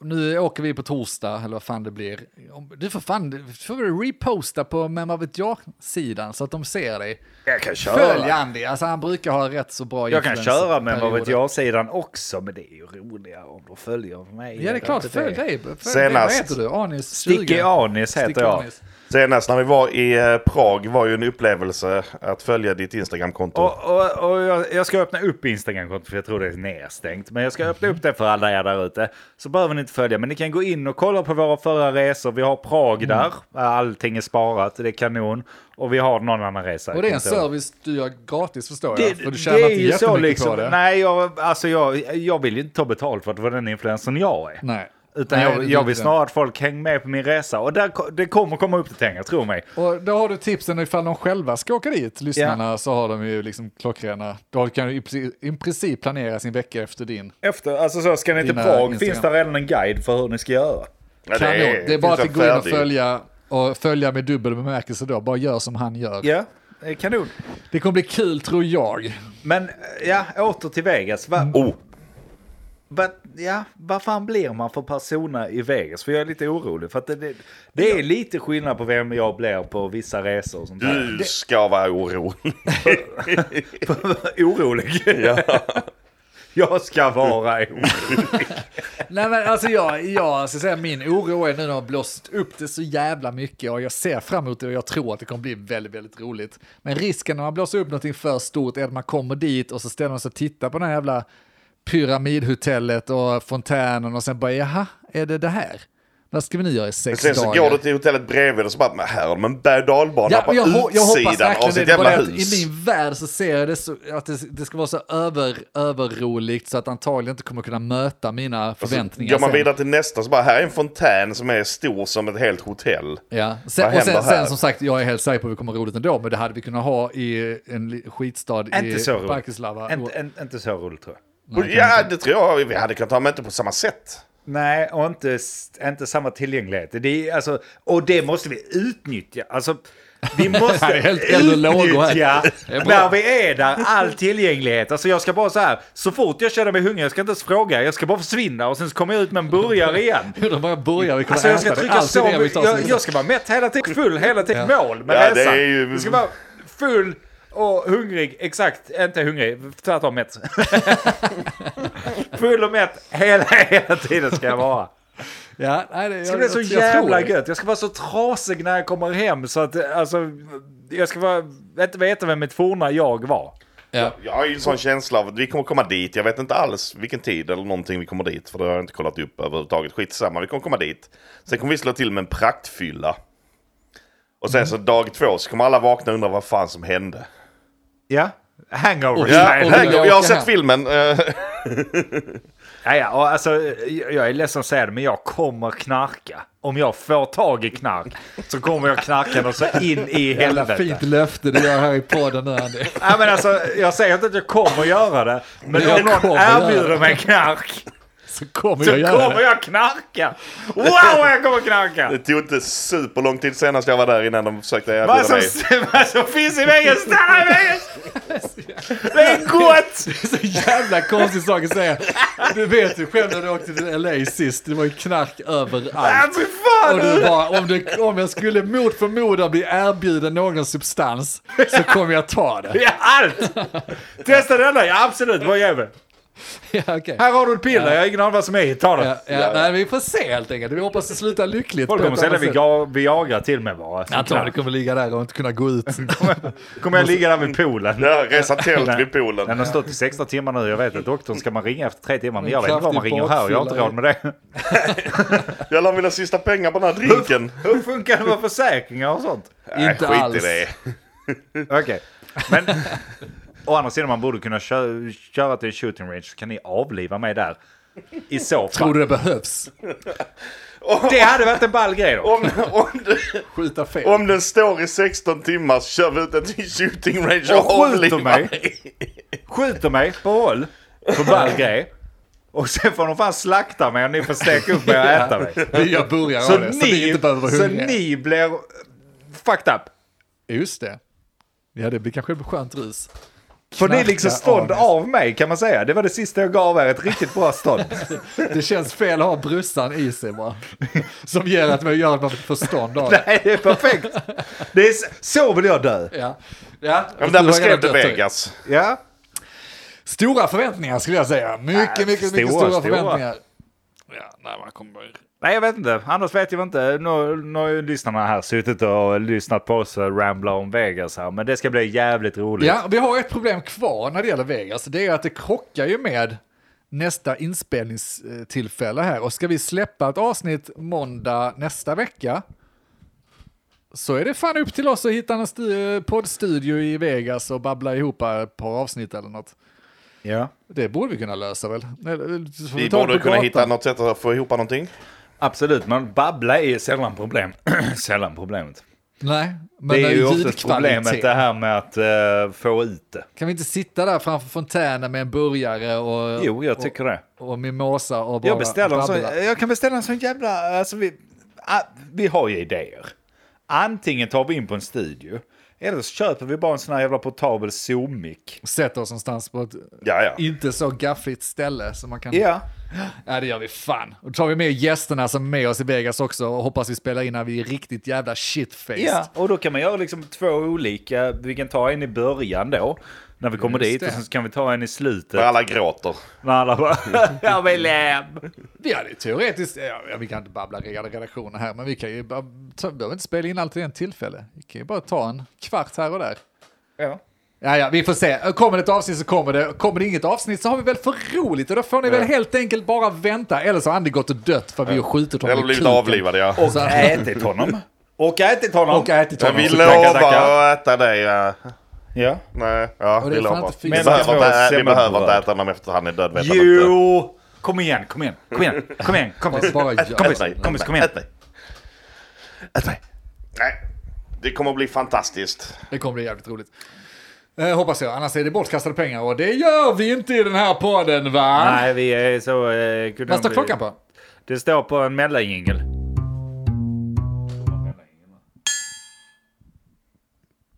D: nu åker vi på torsdag, eller vad fan det blir. Om- Du får fan, du får väl reposta på Vem vad vet jag-sidan så att de ser dig.
C: Jag kan köra.
D: Följ Andy, alltså han brukar ha rätt så bra
C: Jag kan köra med vad vet
D: influencerperioder.
C: jag-sidan också, men det är ju roligare om de följer mig.
D: Ja det är klart, följ dig. Följ dig. Vad
E: Senast-
D: heter du? Anis 20?
C: Sticky Anis heter
D: Sticky
C: jag.
D: Anis.
E: Senast när vi var i eh, Prag var ju en upplevelse att följa ditt Instagramkonto.
C: Och, och, och jag, jag ska öppna upp Instagram-kontot för jag tror det är nedstängt. Men jag ska öppna upp det för alla er där ute. Så behöver ni inte följa. Men ni kan gå in och kolla på våra förra resor. Vi har Prag
D: Mm.
C: där. Allting är sparat. Det är kanon. Och vi har någon annan resa.
D: Och det är en
C: Jag kommer inte ihåg.
D: service du gör gratis förstår jag.
C: Det,
D: För du
C: det
D: tjänar inte
C: är ju så
D: jättemycket
C: liksom.
D: på det.
C: Nej, jag, alltså jag, jag vill ju inte ta betalt för att vara den influensen jag är.
D: Nej.
C: Utan
D: Nej, det
C: jag,
D: är
C: jag
D: inte
C: vill
D: det.
C: snarare att folk hänger med på min resa. Och där, ko- det kommer komma upp till pengar, tro mig.
D: Och då har du tipsen ifall de själva ska åka dit, lyssnarna, så har de ju liksom klockrena. Då kan du i princip- i princip planera sin vecka efter din.
C: Efter, alltså så, ska ni till
D: Dina
C: Prag
D: Instagram.
C: finns det redan en guide för hur ni ska göra.
E: Ja,
D: Kanon. Det är bara
E: finns
D: att gå in och
E: färdig.
D: följa, och följa med dubbel bemärkelse då. Bara gör som han gör.
C: Ja, eh, kanon.
D: Det kommer bli kul tror jag.
C: Men eh, ja, åter till Vegas. Va,
E: Oh,
C: va, ja, vad fan blir man för persona i Vegas? För jag är lite orolig. För att det, det, det är lite skillnad på vem jag blir på vissa resor. Och sånt [LAUGHS] där.
E: du ska vara orolig.
C: orolig? [LAUGHS] jag ska vara orolig.
D: Nej men alltså jag, jag ska säga min oro är nu när de har blåst upp det så jävla mycket och jag ser fram emot det och jag tror att det kommer bli väldigt, väldigt roligt. Men risken när man blåser upp någonting för stort är att man kommer dit och så ställer man sig och tittar på det här jävla pyramidhotellet och fontänen och sen bara jaha, är det det här? Vad ska vi nu göra i sex
E: Sen så
D: dagar?
E: går du till hotellet bredvid och så bara, men här har de en berg och dalbana
D: Ja,
E: på
D: och jag, ho- jag
E: utsidan
D: hoppas
E: av
D: verkligen det.
E: sitt
D: det. är bara
E: jävla
D: det att
E: hus.
D: I min värld så ser jag det så, att det, det ska vara så över, överroligt så att antagligen inte kommer kunna möta mina förväntningar.
E: Går Alltså, man
D: sen.
E: vidare till nästa så bara, här är en fontän som är stor som ett helt hotell.
D: Ja, sen,
E: Vad
D: och
E: händer
D: sen,
E: här?
D: sen som sagt, jag är helt säker på att vi kommer ha roligt ändå, men det hade vi kunnat ha i en li- skitstad
C: Inte så
D: i
C: roligt.
D: Bratislava.
C: Inte- inte- Inte så roligt tror jag.
E: Och, ja, det tror jag vi hade kunnat ha, men inte på samma sätt.
C: Nej, och inte, inte samma tillgänglighet. Det är, alltså, och det måste vi utnyttja. Alltså,
D: [LAUGHS]
C: vi måste
D: Det är helt eld och lågor
C: utnyttja
D: här. Det är bra.
C: när vi är där all tillgänglighet. Alltså jag ska bara så här, så fort jag känner mig hungrig, jag ska inte ens fråga, jag ska bara försvinna och sen så kommer jag ut med en burgare
D: [LAUGHS]
C: igen.
D: [LAUGHS] Hur de bara börjar, vi
C: Alltså
D: kommer
C: jag
D: äta
C: ska
D: det.
C: trycka
D: Allt är
C: så
D: det vi
C: mycket,
D: tar som
C: jag,
D: liksom-
C: jag ska vara mätt hela tiden, full hela tiden, mål med
E: Ja, det
C: resan.
E: är ju-
C: Jag ska vara full och hungrig, exakt, inte hungrig, tvärtom mätt. [LAUGHS] full och mätt hela, hela tiden ska jag vara.
D: Ja, nej, det, jag,
C: Det ska bli så
D: jag, jag
C: jävla
D: tror det.
C: gött. Jag ska vara så trasig när jag kommer hem så att eh, alltså, jag ska vara, inte veta vem mitt forna jag var.
D: Ja.
E: Jag har ju en
D: Mm.
E: sån känsla av att vi kommer komma dit. Jag vet inte alls vilken tid eller någonting vi kommer dit. För det har jag inte kollat upp överhuvudtaget. Skitsamma, vi kommer komma dit. Sen kommer vi slå till med en praktfylla. Och sen
D: Mm.
E: så dag två så kommer alla vakna och undra vad fan som hände.
C: Ja. Hangover.
D: Ja,
E: Ja,
C: Nej,
D: och-
C: nej.
E: här går- jag har
D: åka
E: sett
D: hem.
E: filmen. eh,
C: ja, ja, och alltså, jag jag är ledsen att säga det, men jag kommer knarka. Om jag får tag i knark så kommer jag knarka och så in i
D: Jävla
C: helvete.
D: fint löfte du gör här i podden nu Andy.
C: Ja, men alltså, jag säger inte att jag kommer göra det, men
D: Jag
C: om någon
D: kommer göra
C: erbjuder
D: det.
C: mig knark
D: så kommer
C: Så
D: jag göra
C: kommer
D: det.
C: jag knarka! Wow, jag kommer
E: Det
C: knarka!
E: tog inte superlång tid senast jag var där innan de försökte
C: Vad
E: erbjuda
C: som,
E: mig.
C: [LAUGHS] vad som finns i vägen stannar i vägen! Det är gott!
D: Så jävla konstig sak att säga. Du vet ju själv när du åkte till LA sist, det var ju knark överallt.
C: Ah, Fy
D: Och du
C: fan!
D: bara, om, det, om jag skulle mot förmodan bli erbjuden någon substans så kommer jag ta det.
C: [LAUGHS] Ja, allt! Testa denna, ja absolut, var jävel.
D: Ja, okay.
C: Här har du ett piller, jag har ingen aning vad som är i. Ta
D: ja,
C: det.
D: ja, nej, vi får se helt enkelt. Vi hoppas det slutar lyckligt.
C: Folk
D: på
C: kommer
D: ett
C: sälja
D: annat
C: Viga-
D: sätt.
C: Viagra till mig bara. som
D: Antagligen
C: knark.
D: kommer ligga där och inte kunna gå ut.
C: Kommer jag ligga där vid poolen?
E: Ja, resa tält vid
C: Den
E: poolen.
C: har stått i 16 timmar nu. Jag vet att doktorn ska man ringa efter tre timmar. Men jag vet inte vad man
D: Kraftig
C: ringer här. Jag har inte
D: bakfylla.
C: råd med det.
E: Jag la mina sista pengar på den här drinken.
C: Hur funkar det med försäkringar och sånt?
D: inte
E: Skit
D: alls.
E: i det.
C: Okej. Men å andra sidan man borde kunna köra, köra till shooting range. Så kan ni avliva mig där. I så
D: Tror
C: fall.
D: du det behövs?
C: Det hade varit en ball grej då.
E: Om, om, du,
D: Skjuta fel.
E: om den står i 16 timmar så kör vi ut den till shooting range och,
C: Och skjuter
E: avlivar.
C: mig. Skjuter mig på håll. På ball grej. Och sen får de fan slakta mig och ni får steka upp mig och äta mig.
D: Jag börjar
C: Så
D: av det,
C: ni,
D: så vi inte behöver vara
C: så
D: hungriga.
C: ni blir eh, fucked up.
D: Just det. Ja, det blir kanske ett skönt rus.
C: För det är liksom
D: Knarka
C: stånd
D: anis.
C: av mig kan man säga. Det var det sista jag gav er, ett riktigt bra stånd. [LAUGHS]
D: Det känns fel att ha brussan i sig bara. Som ger att man gör att man får stånd av det.
C: Nej, det är perfekt. Det är, s- så vill jag dö.
D: Ja. Ja.
E: Ja, men där
D: Du har redan
E: beskrev du
D: dött, Erik.
E: Vegas.
C: Ja.
D: Stora förväntningar skulle jag säga. Mycket,
C: Äh,
D: mycket, mycket stora,
C: stora, stora.
D: förväntningar. Ja, nej, man kommer...
C: Nej, jag vet inte. Annars vet jag inte. Nu, nu har ju lyssnarna här suttit och lyssnat på oss rambla om Vegas här. Men det ska bli jävligt roligt.
D: Ja, vi har ett problem kvar när det gäller Vegas. Det är att det krockar ju med nästa inspelningstillfälle här. Och ska vi släppa ett avsnitt måndag nästa vecka så är det fan upp till oss att hitta en stu- poddstudio i Vegas och babbla ihop ett par avsnitt eller något.
C: Ja.
D: Det borde vi kunna lösa väl? Eller, så får
E: Vi
D: ta det
E: borde
D: på
E: kunna
D: gatan.
E: hitta något sätt att få ihop någonting.
C: Absolut, men babbla är sällan problem. [CLEARS THROAT] sällan problemet.
D: Nej, men
C: det är ju oftast
D: ljudkvalitet.
C: problemet det här med att eh, få ut det.
D: Kan vi inte sitta där framför fontänen med en burgare och,
C: Jo, jag tycker det.
D: och mimosa och bara
C: Jag, beställer en sån,
D: babbla?
C: jag kan beställa en sån jävla... Alltså vi, ah, vi har ju idéer. Antingen tar vi in på en studio. Eller så köper vi bara en sån här jävla portabel Zoom-mic.
D: sätter oss någonstans på ett
E: Ja, ja.
D: inte så gaffigt ställe som man kan...
C: Ja.
D: Ja, det gör vi fan. Och då tar vi med gästerna som är med oss i Vegas också och hoppas vi spelar in när vi är riktigt jävla shitfaced.
C: ja. Och då kan man göra liksom två olika. Vi kan ta en i början då. När vi kommer
D: Just
C: dit.
D: det.
C: Och sen så kan vi ta en i slutet.
E: Där alla gråter.
C: När alla bara... [LAUGHS] Jag vill hem.
D: Vi hade ju teoretiskt, ja, vi kan inte babbla reda redaktioner här, men vi kan ju bara, ta, vi behöver inte spela in allt i en tillfälle. Vi kan ju bara ta en kvart här och där.
C: Ja.
D: Ja, ja, vi får se. Kommer det ett avsnitt så kommer det. Kommer det inget avsnitt så har vi väl för roligt och då får ni väl helt enkelt bara vänta. Eller så har Andy gått och dött för vi har skjutit honom
E: Eller
D: i
E: blivit
D: kuken.
E: avlivad, ja.
C: Och ätit honom. Och ätit honom.
D: Och ätit
E: Men
D: honom.
E: vi
C: så tackar, tackar.
E: lovar att äta dig. Ja.
C: Ja.
E: Nej, ja,
D: det
E: vi
D: är fan
E: lovar.
D: inte
E: Vi
D: fint.
C: Men
E: behöver
C: två
E: inte, ä- vi
C: semmelbröd.
E: behöver inte äta honom efter han är död. Vet han inte.
C: Jo! Kom igen, kom igen, kom igen, kom igen, kompis.
D: [LAUGHS] Bara gör
C: Kompis,
D: det.
C: kompis, kom igen.
E: Ät mig. Ät mig. Nej, det kommer att bli fantastiskt.
D: Det kommer bli jävligt roligt. Eh, hoppas jag, annars är det bortkastade pengar och det gör vi inte i den här podden va?
C: Nej, vi är så... Eh,
D: Vad står klockan på?
C: Det står på en mellanjingel.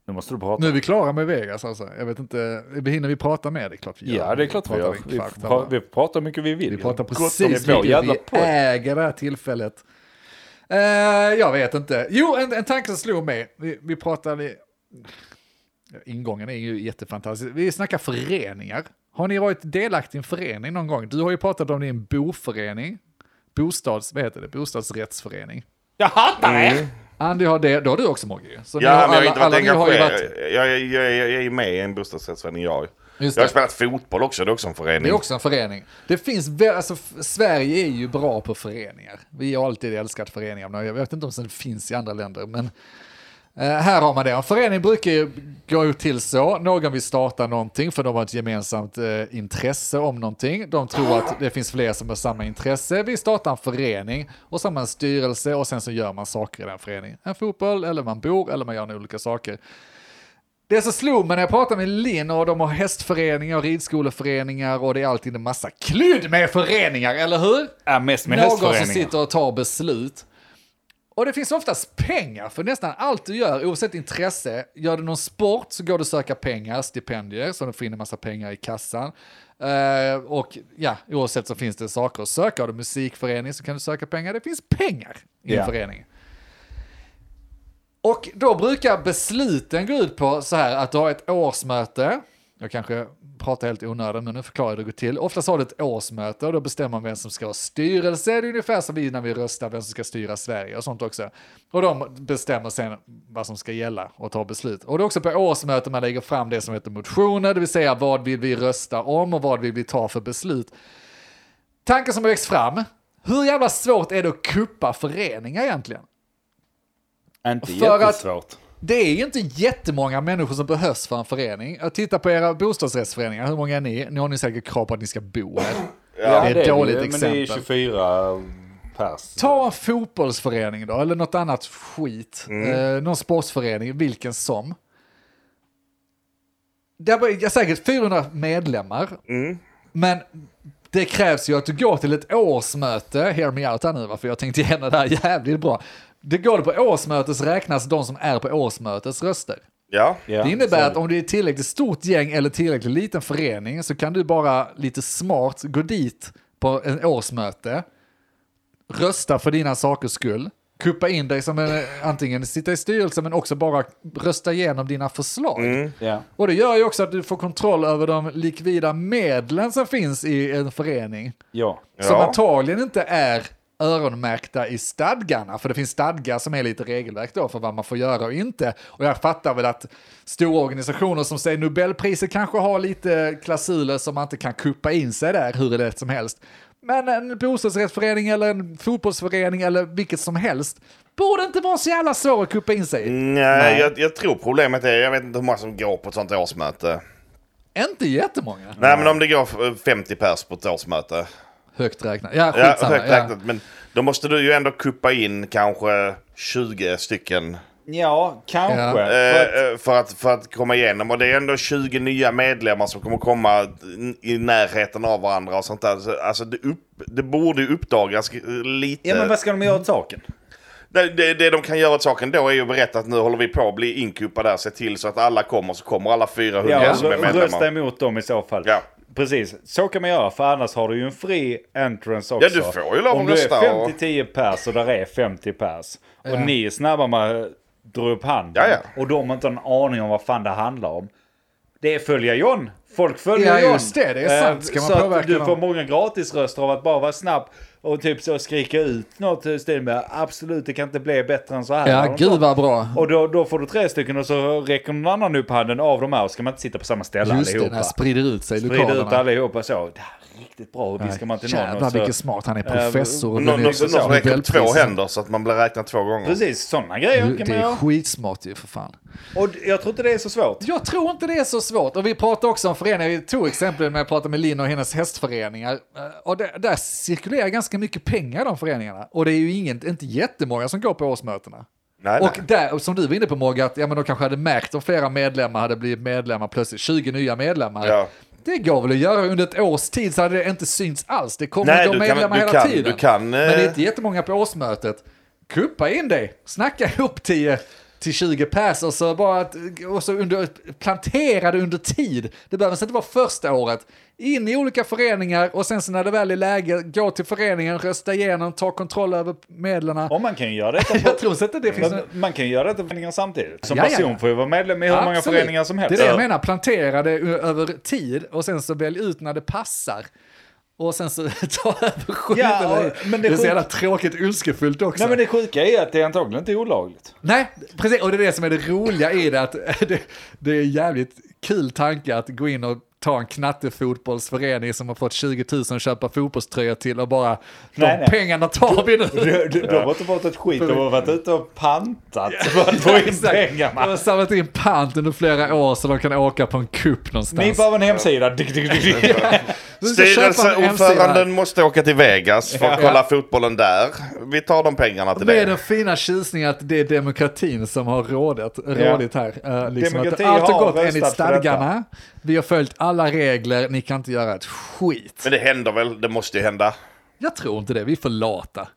C: Nu måste du prata.
D: Nu är vi klara med Vegas alltså. Jag vet inte, hinner vi prata med? Det är klart vi gör.
C: Ja, det är klart vi
D: pratar
C: gör.
D: en
C: Vi,
D: kvart
C: pra-
D: här, va?
C: vi pratar hur mycket vi vill.
D: Vi pratar
C: Gott om
D: precis
C: vår
D: vilket
C: jävla
D: vi Eh.
C: podd.
D: äger det här tillfället. Eh, jag vet inte. Jo, en, en tanke som slog mig. Vi, vi pratade... Ingången är ju jättefantastisk. Vi snackar föreningar. Har ni varit delaktig i en förening någon gång? Du har ju pratat om din boförening. Bostads, vad heter det? Bostadsrättsförening.
C: Jag hatar er!
D: Andy har det, då har du också Mogge ju. Så ni
E: Ja,
D: har
E: men jag har
D: alla-
E: inte varit
D: alla ni har ju
E: engagerad.
D: varit-
E: Jag, jag, jag, jag är ju med i en bostadsrättsförening, jag.
D: Just
E: Jag har
D: det.
E: spelat fotboll också, det är också en
D: Det
E: förening.
D: är också en förening. Det finns, vä- alltså, f- Sverige är ju bra på föreningar. Vi har alltid älskat föreningar. men Jag vet inte om det finns i andra länder, men eh, här har man det. En förening brukar ju gå till så. Någon vill starta någonting för de har ett gemensamt eh, intresse om någonting. De tror att det finns fler som har samma intresse. Vi startar en förening och så har man en styrelse och sen så gör man saker i den föreningen. En fotboll eller man bor eller man gör olika saker. Det som slog mig när jag pratade med Linn och de har hästföreningar och ridskoleföreningar och det är alltid en massa klud med föreningar, eller hur?
C: Ja, Äh, mest med
D: Någon som
C: hästföreningar.
D: sitter och tar beslut. Och det finns oftast pengar för nästan allt du gör, oavsett intresse. Gör du någon sport så går du söka pengar, stipendier, så du får in en massa pengar i kassan. Eh, och ja, oavsett så finns det saker att söka. Har du musikförening så kan du söka pengar. Det finns pengar i en
C: Ja.
D: förening. Och då brukar besluten gå ut på så här att du har ett årsmöte. Jag kanske pratar helt i onödan men nu förklarar jag hur det går till. Oftast har du ett årsmöte och då bestämmer man vem som ska ha styrelse. Det är ungefär som vi när vi röstar vem som ska styra Sverige och sånt också. Och de bestämmer sen vad som ska gälla och tar beslut. Och det är också på årsmöten man lägger fram det som heter motioner, det vill säga vad vill vi rösta om och vad vill vi ta för beslut. Tanken som har växt fram, hur jävla svårt är det att kuppa föreningar egentligen?
A: Inte
D: För att-
A: jättesvårt.
D: Det är ju inte jättemånga människor som behövs för en förening. Jag tittar på era bostadsrättsföreningar, hur många är ni? Ni har ni säkert krav på att ni ska bo här. det är ett dåligt
A: ju, Men det är
D: exempel.
A: 24 pers.
D: Ta en fotbollsförening då, eller något annat skit. Eh, någon sportförening, vilken som. Där var jag säkert 400 medlemmar. Men det krävs ju att du går till ett årsmöte, hear me out här nu va, för jag tänkte igenom det här jävligt bra. Det går du på årsmötet så räknas de som är på årsmötets röster.
E: Ja.
A: Ja,
D: Det innebär
A: så-
D: att om du är tillräckligt stort gäng eller tillräckligt liten förening så kan du bara lite smart gå dit på en årsmöte, rösta för dina sakers skull, kuppa in dig som en, antingen sitta i styrelsen men också bara rösta igenom dina förslag.
C: Mm.
A: Ja.
D: Och det gör ju också att du får kontroll över de likvida medlen som finns i en förening.
A: ja.
D: Som
E: Ja.
D: antagligen inte är öronmärkta i stadgarna, för det finns stadgar som är lite regelverk då för vad man får göra och inte. Och jag fattar väl att stora organisationer som säger Nobelpriset kanske har lite klausuler som man inte kan kuppa in sig där hur lätt som helst. Men en bostadsrättsförening eller en fotbollsförening eller vilket som helst borde inte vara så jävla svår att kuppa in sig i.
E: Nej, jag, jag tror problemet är, jag vet inte hur många som går på ett sånt årsmöte.
D: Inte jättemånga.
E: Nej, men om det går eh, 50 pers på ett årsmöte.
D: Högt räknat. Ja,
E: Ja,
D: skitsamma.
E: högt
D: Ja,
E: räknat. Men då måste du ju ändå kuppa in kanske 20 stycken
A: ja, kanske.
D: Ja.
A: För att-
E: eh, eh, för, att, för att komma igenom. Och det är ändå 20 nya medlemmar som kommer komma n- i närheten av varandra och sånt där. Så, Alltså, det, upp, det borde ju uppdagas eh, lite.
C: Ja, men vad ska de göra åt saken?
E: det, det, det de kan göra åt saken då är ju att berätta att nu håller vi på att bli inkupade där. Se till så att alla kommer, så kommer alla 400
C: Ja,
E: som är
C: rö- rösta
E: medlemmar.
C: emot dem i så fall.
E: Ja.
C: Precis, så kan man göra för annars har du ju en fri entrance också.
E: Ja, du får ju lov
C: Om
E: att
C: du
E: rösta
C: är
E: och-
C: 50-10 pers och där är 50 pers och
D: Ja.
C: ni är snabba med att dra upp handen
E: Ja, ja.
C: och de har inte en aning om vad fan det handlar om. Det är följa John. Folk följer
D: Ja,
C: John.
D: just det. Det är
C: Eh,
D: sant. Ska man
C: så att
D: påverka
C: du
D: någon?
C: får många gratisröster av att bara vara snabb och typ så skrika ut något i stil med absolut det kan inte bli bättre än så här.
D: ja
C: Och så-
D: gud vad bra.
C: och då, då får du tre stycken och så räcker någon annan upp handen av de här och ska man inte sitta på samma ställe
D: Just det,
C: allihopa.
D: när sprider ut sig i
C: Sprida ut
D: lokalerna.
C: allihopa så. Det här är riktigt bra och viskar man till någon.
D: Jävlar
C: Och så,
D: vilken smart, han är professor. och
E: Någon,
D: vinner
E: någon, någon som räcker upp två
D: Nobelpriset.
E: händer så att man blir räknad två gånger.
C: precis, sådana grejer kan
D: Det
C: man
D: är
C: göra.
D: skitsmart ju för fan.
C: Och jag tror inte det är så svårt.
D: Jag tror inte det är så svårt. Och vi pratade också om föreningar. Vi tog exempel när jag pratade med Linn och hennes hästföreningar. Eh, Och där, där cirkulerar ganska mycket pengar i de föreningarna. Och det är ju ingen, inte jättemånga som går på årsmötena.
E: Nej,
D: Och
E: nej.
D: där, som du var inne på Mogge, att ja, men de kanske hade märkt om flera medlemmar hade blivit medlemmar plötsligt, 20 nya medlemmar.
E: Ja.
D: Det går väl att göra under ett års tid så hade det inte synts alls. Det kommer
E: Nej,
D: gå
E: du kan-
D: medlemmar
E: du
D: hela
E: kan-
D: tiden.
E: du kan,
D: Men det är
E: eh,
D: inte jättemånga på årsmötet. Kuppa in dig, snacka [LAUGHS] ihop 10 till 20 pers och så bara att, och så under, plantera det under tid. Det behöver inte vara första året. In i olika föreningar och sen så när det väl är läge, gå till föreningen, rösta igenom, ta kontroll över medlen.
C: Och man kan ju göra
D: [LAUGHS]
C: detta
D: Jag
C: på...
D: tror inte att det finns...
C: Men
D: någon-
C: man kan ju göra detta på föreningar samtidigt. Som
D: Ja, ja, ja.
C: person får ju vara medlem i hur många
D: Absolut.
C: föreningar som helst.
D: Det är det jag menar, plantera det ö- över tid och sen så välj ut när det passar. Och sen så [LAUGHS] ta över skiten.
C: Ja,
D: i.
C: men det
D: det är så
C: sjuk-
D: jävla tråkigt ondskefullt också.
C: Nej men det sjuka är att det är antagligen inte olagligt.
D: Nej, precis. Och det är det som är det roliga i det, att [LAUGHS] det, det är en jävligt kul tanke att gå in och ta en knattefotbollsförening som har fått 20 000 att köpa fotbollströjor till och bara, de
C: Nej, nej.
D: pengarna tar vi nu.
C: Du, du, [LAUGHS] De har inte fått ett skit, de har varit ute och pantat för att få in
D: [LAUGHS] Exakt. De har
C: pengarna.
D: samlat in pant under flera år så de kan åka på en kupp någonstans.
C: Ni behöver en hemsida. Dick, dick, dick, dick.
D: Vi ska köpa en MC
E: Styrelseordföranden
D: där.
E: alltså, måste åka till Vegas för att kolla fotbollen där. Vi tar de pengarna till
D: Med
E: det.
D: den fina tjusningen att det är demokratin som har rådet, rådigt här. Eh, liksom att
C: Demokrati
D: allt har
C: har röstat
D: gått enligt
C: för detta.
D: stadgarna. Vi har följt alla regler, ni kan inte göra ett skit.
E: Men det händer väl? Det måste ju hända.
D: Jag tror inte det, vi är för lata.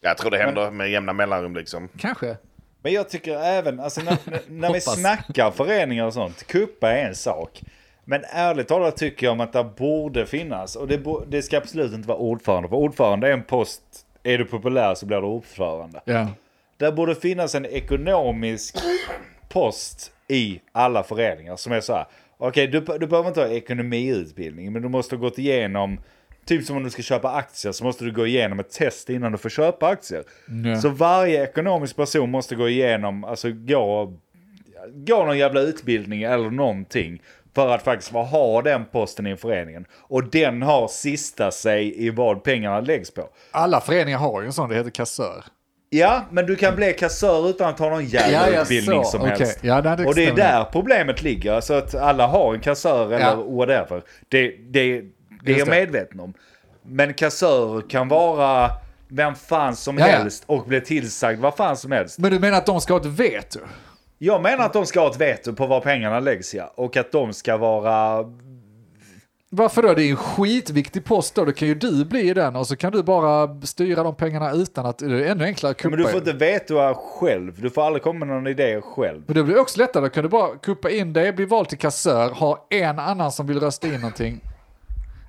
E: Jag tror det händer med jämna mellanrum liksom.
D: Kanske.
C: Men jag tycker även, alltså när, när- när vi
D: Hoppas.
C: snackar föreningar och sånt, kuppa är en sak. Men ärligt talat tycker jag om att det borde finnas, och det, bo, det ska absolut inte vara ordförande, för ordförande är en post, är du populär så blir du ordförande.
D: Ja.
C: Där borde finnas en ekonomisk post i alla föreningar som är så här. Okej, du, du behöver inte ha ekonomiutbildning, men du måste ha gått igenom, typ som om du ska köpa aktier, så måste du gå igenom ett test innan du får köpa aktier.
D: Nej.
C: Så varje ekonomisk person måste gå igenom, alltså gå, gå någon jävla utbildning eller någonting för att faktiskt vara- ha den posten i föreningen. Och den har sista sig i vad pengarna läggs på.
D: Alla föreningar har ju en sån, det heter kassör.
C: Ja, men du kan bli kassör utan att ha någon jävla
D: Ja, ja,
C: utbildning
D: så.
C: som
D: Okej.
C: helst.
D: Ja, det hade
C: och det är
D: stämmer.
C: där problemet ligger, så att alla har en kassör eller
D: Ja.
C: whatever. Det, det, det är jag
D: det.
C: medveten om. Men kassör kan vara vem fan som
D: Ja, ja.
C: helst och bli tillsagd vad fan som helst.
D: Men du menar att de ska ha ett veto?
C: Jag menar att de ska ha ett veto på var pengarna läggs ja. Och att de ska vara...
D: Varför då? Det är en skitviktig post då, då kan ju du bli den och så kan du bara styra de pengarna utan att, det är ännu enklare att kuppa
C: Men du får
D: in.
C: inte vetoa själv. Du får aldrig komma med någon idé själv.
D: Men det blir också lättare, då kan du bara kuppa in dig, bli vald till kassör, ha en annan som vill rösta in någonting.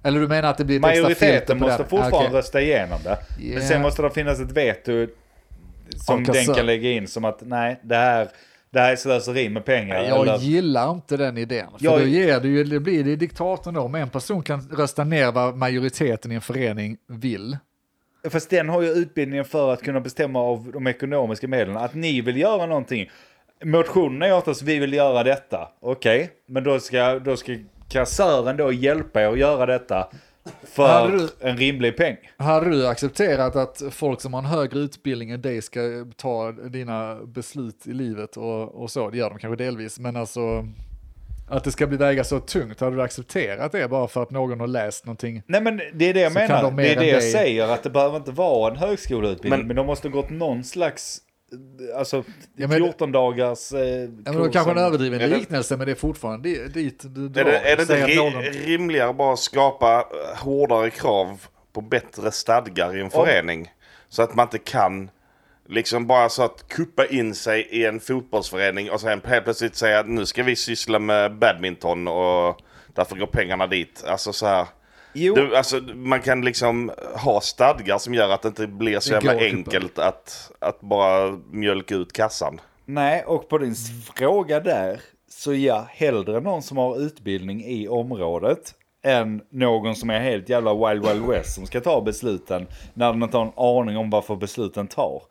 D: Eller du menar att det blir ett extra filter
C: Majoriteten
D: på
C: måste
D: den?
C: fortfarande
D: Ah, okej.
C: rösta igenom det.
D: Ja.
C: Men sen måste det finnas ett veto som
D: Av kassör.
C: den kan lägga in som att nej, det här, det här är slöseri med pengar.
D: Jag
C: eller,
D: gillar inte den idén. För
C: Jag-
D: då ger du ju, det blir det diktatorn då, om en person kan rösta ner vad majoriteten i en förening vill.
C: fast den har ju utbildningen för att kunna bestämma av de ekonomiska medlen. Att ni vill göra någonting. Motionen är oftast vi vill göra detta. Okej, men då ska, då ska kassören då hjälpa er att göra detta
D: Hade
C: för
D: du-
C: en rimlig peng.
D: Hade du accepterat att folk som har en högre utbildning än dig ska ta dina beslut i livet och, och så? Det gör de kanske delvis, men alltså att det ska bli väga så tungt, hade du accepterat det bara för att någon har läst någonting?
C: Nej men det är det jag
D: Så kan
C: menar.
D: de mer
C: det är
D: än
C: det jag
D: dig.
C: säger. Att det behöver inte vara en högskoleutbildning. Men,
E: Men-
C: de måste ha gått någon slags... eh, Alltså
D: Ja, men-
C: 14 dagars... Eh,
D: Ja, men det var kanske en överdriven
E: Är det-
D: liknelse, men det är fortfarande di- dit du drar.
E: Är det, är det inte
D: Säg att
E: ri-
D: någon-
E: rimligare att bara skapa eh, hårdare krav på bättre stadgar i en förening? Så att man inte kan liksom bara så att kuppa in sig i en fotbollsförening och sen helt plötsligt säga att nu ska vi syssla med badminton och därför går pengarna dit. Alltså så här.
C: Jo,
E: Du, alltså, man kan liksom ha stadgar som gör att det inte blir så
D: Det
E: jävla
D: går att kuppa.
E: enkelt att, att bara mjölka ut kassan.
C: nej, och på din fråga där. Så ja, hellre någon som har utbildning i området. Än någon som är helt jävla wild wild west som ska ta besluten. När de inte har en aning om varför besluten tar.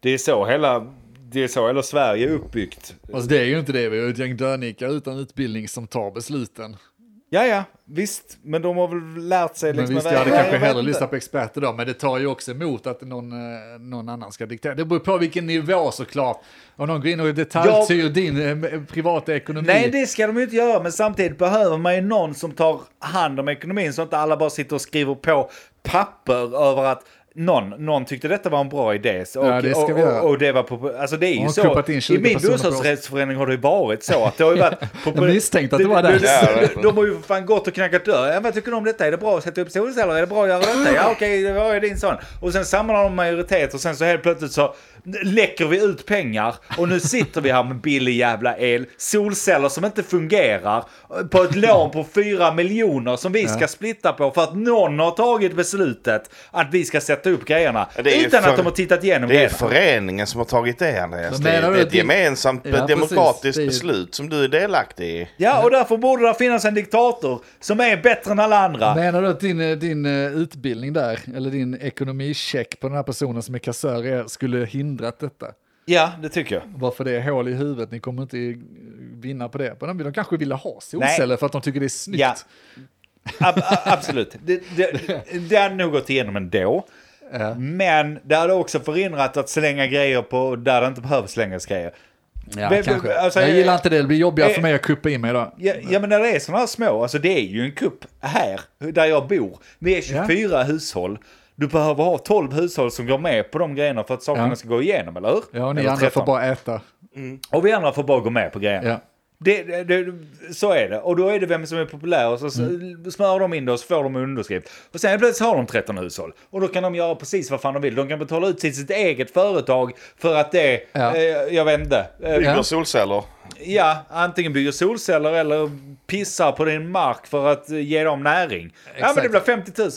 C: Det är så hela... Det är så hela Sverige är uppbyggt.
D: Fast Alltså, det är ju inte det, vi är ju ett gäng dönickar utan utbildning som tar besluten.
C: Ja, ja, visst. Men de har väl lärt sig
D: Men
C: liksom...
D: visst,
C: att-
D: jag hade
C: Nej,
D: kanske
C: jag vet
D: hellre
C: inte.
D: lyssnat på experter då, men det tar ju också emot att någon, eh, någon annan ska diktera. Det beror på vilken nivå såklart. Om någon går in och detaljstyr din eh, privata ekonomi.
C: Nej, det ska de ju inte göra, men samtidigt behöver man ju någon som tar hand om ekonomin så att inte alla bara sitter och skriver på papper över att någon, någon tyckte detta var en bra idé. Så- Och,
D: Ja, det ska vi
C: och,
D: göra.
C: och, och det var på, alltså det är ju
D: har kuppat in
C: så.
D: 20
C: I min
D: personer på oss.
C: bostadsrättsförening har det ju varit så att det har ju
D: [LAUGHS]
C: varit...
D: Jag misstänkte att det var där.
C: De, de, de har ju för fan gått och knackat dörr. Ja, vad tycker du om detta? Är det bra att sätta upp solceller? Är det bra att göra detta? Ja, okej, det var ju din sån. Och sen samlar de majoritet och sen så helt plötsligt så läcker vi ut pengar och nu sitter vi här med billig jävla el, solceller som inte fungerar, på ett lån på 4 miljoner som vi ska splitta på för att någon har tagit beslutet att vi ska sätta upp grejerna
E: Det är ju
C: utan
E: för-
C: att de har tittat igenom
E: Det är
C: grejerna.
E: föreningen som har tagit det Andreas.
D: Men
E: Det
D: menar
E: är
D: du
E: ett
D: att vi-
E: gemensamt
D: Ja,
E: demokratiskt
D: precis. Det är ju-
E: beslut som du är delaktig i.
C: Ja, och därför borde det finnas en diktator som är bättre än alla andra.
D: Menar du att din, eh, din eh, utbildning där, eller din ekonomicheck på den här personen som är kassör, är- skulle hindrat detta?
C: Ja, det tycker jag.
D: Bara för det är hål i huvudet, ni kommer inte eh, vinna på det. Men de- de kanske ville ha solceller för att de tycker det är snyggt.
C: Ja. Ab a-
D: [LAUGHS]
C: absolut. Det, det, det hade nog gått igenom ändå. Men det hade också förhindrat att slänga grejer på där det inte behöver slängas grejer.
D: Ja,
C: Vem-
D: kanske.
C: alltså,
D: jag
C: eh,
D: gillar inte det, det blir jobbigare
C: eh,
D: för mig att kuppa in mig idag.
C: Ja, ja men när det är sådana här små, alltså det är ju en kupp här där jag bor. Vi är 24 hushåll. Du behöver ha 12 hushåll som går med på de grejerna för att sakerna
D: Ja.
C: ska gå igenom, eller hur?
D: Ja, och ni
C: Eller
D: andra
C: 13.
D: får bara äta.
C: Och vi andra får bara gå med på grejerna.
D: Ja.
C: Det, det, det, så är det. Och då är det vem som är populär och så mm. smör de in det och så får de en underskrift. Och sen plötsligt har de 13 hushåll. Och då kan de göra precis vad fan de vill. De kan betala ut till sitt eget företag för att det,
D: Ja.
C: eh, jag vet inte. Eh,
E: Bygger
D: Ja.
E: solceller.
C: Ja, antingen bygger solceller eller pissar på din mark för att eh, ge dem näring. Ja, men
D: Exakt.
C: det blir 50 000.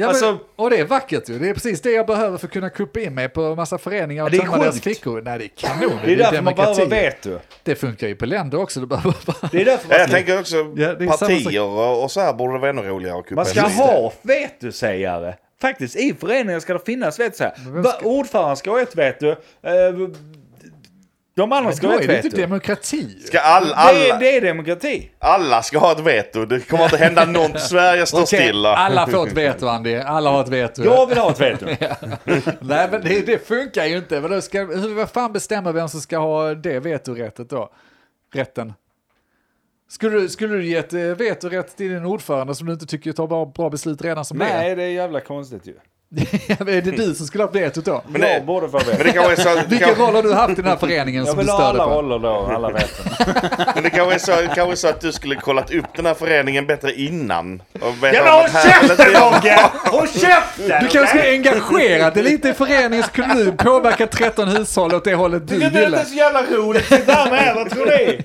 D: Ja,
C: alltså,
D: men, och det är vackert ju. Det är precis det jag behöver för att kunna kuppa in mig på massa föreningar och
C: det är
D: tömma deras
C: sjukt.
D: fickor. Nej, det är kanon.
C: det är
D: ju
C: därför man
D: demokrati.
C: behöver veto.
D: Det funkar ju på länder också. Du behöver bara...
C: Det är därför
E: Ja,
C: man
E: jag
C: ska,
E: tänker också
D: Ja, det är samma
E: partier och, och så här borde det vara ännu roligare att kuppa
C: man ska
E: in sig.
C: ha vetosägare. Faktiskt, i föreningar ska det finnas vetosägare. Va- Ordföranden ska ha ett veto. eh, De andra ska
D: Då
C: ha
D: är
C: ett
D: det inte
C: veto.
D: demokrati.
E: Ska all,
C: Det, är,
E: alla,
C: det är demokrati.
E: alla ska ha ett veto. Det kommer inte hända något. Sverige står
D: Okej,
E: stilla.
D: Alla får ett veto, Andy. Alla har ett veto.
C: Jag vill ha
E: [LAUGHS]
C: ett veto.
D: Nej, men det, det funkar ju inte. Men då ska, hur vad fan bestämmer vem som ska ha det vetorättet då? Rätten. Skulle, du- skulle du ge ett eh, vetorätt till din ordförande som du inte tycker tar bra, bra beslut redan som
C: Nej, det är jävla konstigt ju.
D: det är? [LAUGHS] är det du som skulle ha vetot då?
E: Men det-
C: Jag borde få veto.
E: Men det kanske är så, det
D: Vilken
E: kanske-
D: roll har du haft i den här föreningen
C: Jag
D: som du
C: vill ha
D: stöder
C: alla
D: på?
C: roller då, alla veton.
E: men det kanske är så, det kanske är så att du skulle kollat upp den här föreningen bättre innan. Och vet
C: Ja,
E: om
C: men håll
E: att här-
C: käften Rogge! Håll käften!
D: Du kanske ska engagera dig lite i föreningen så kunde du påverka 13 hushåll åt det hållet du
C: Det är inte
D: ville.
C: så jävla roligt att sitta här med heller, tror ni?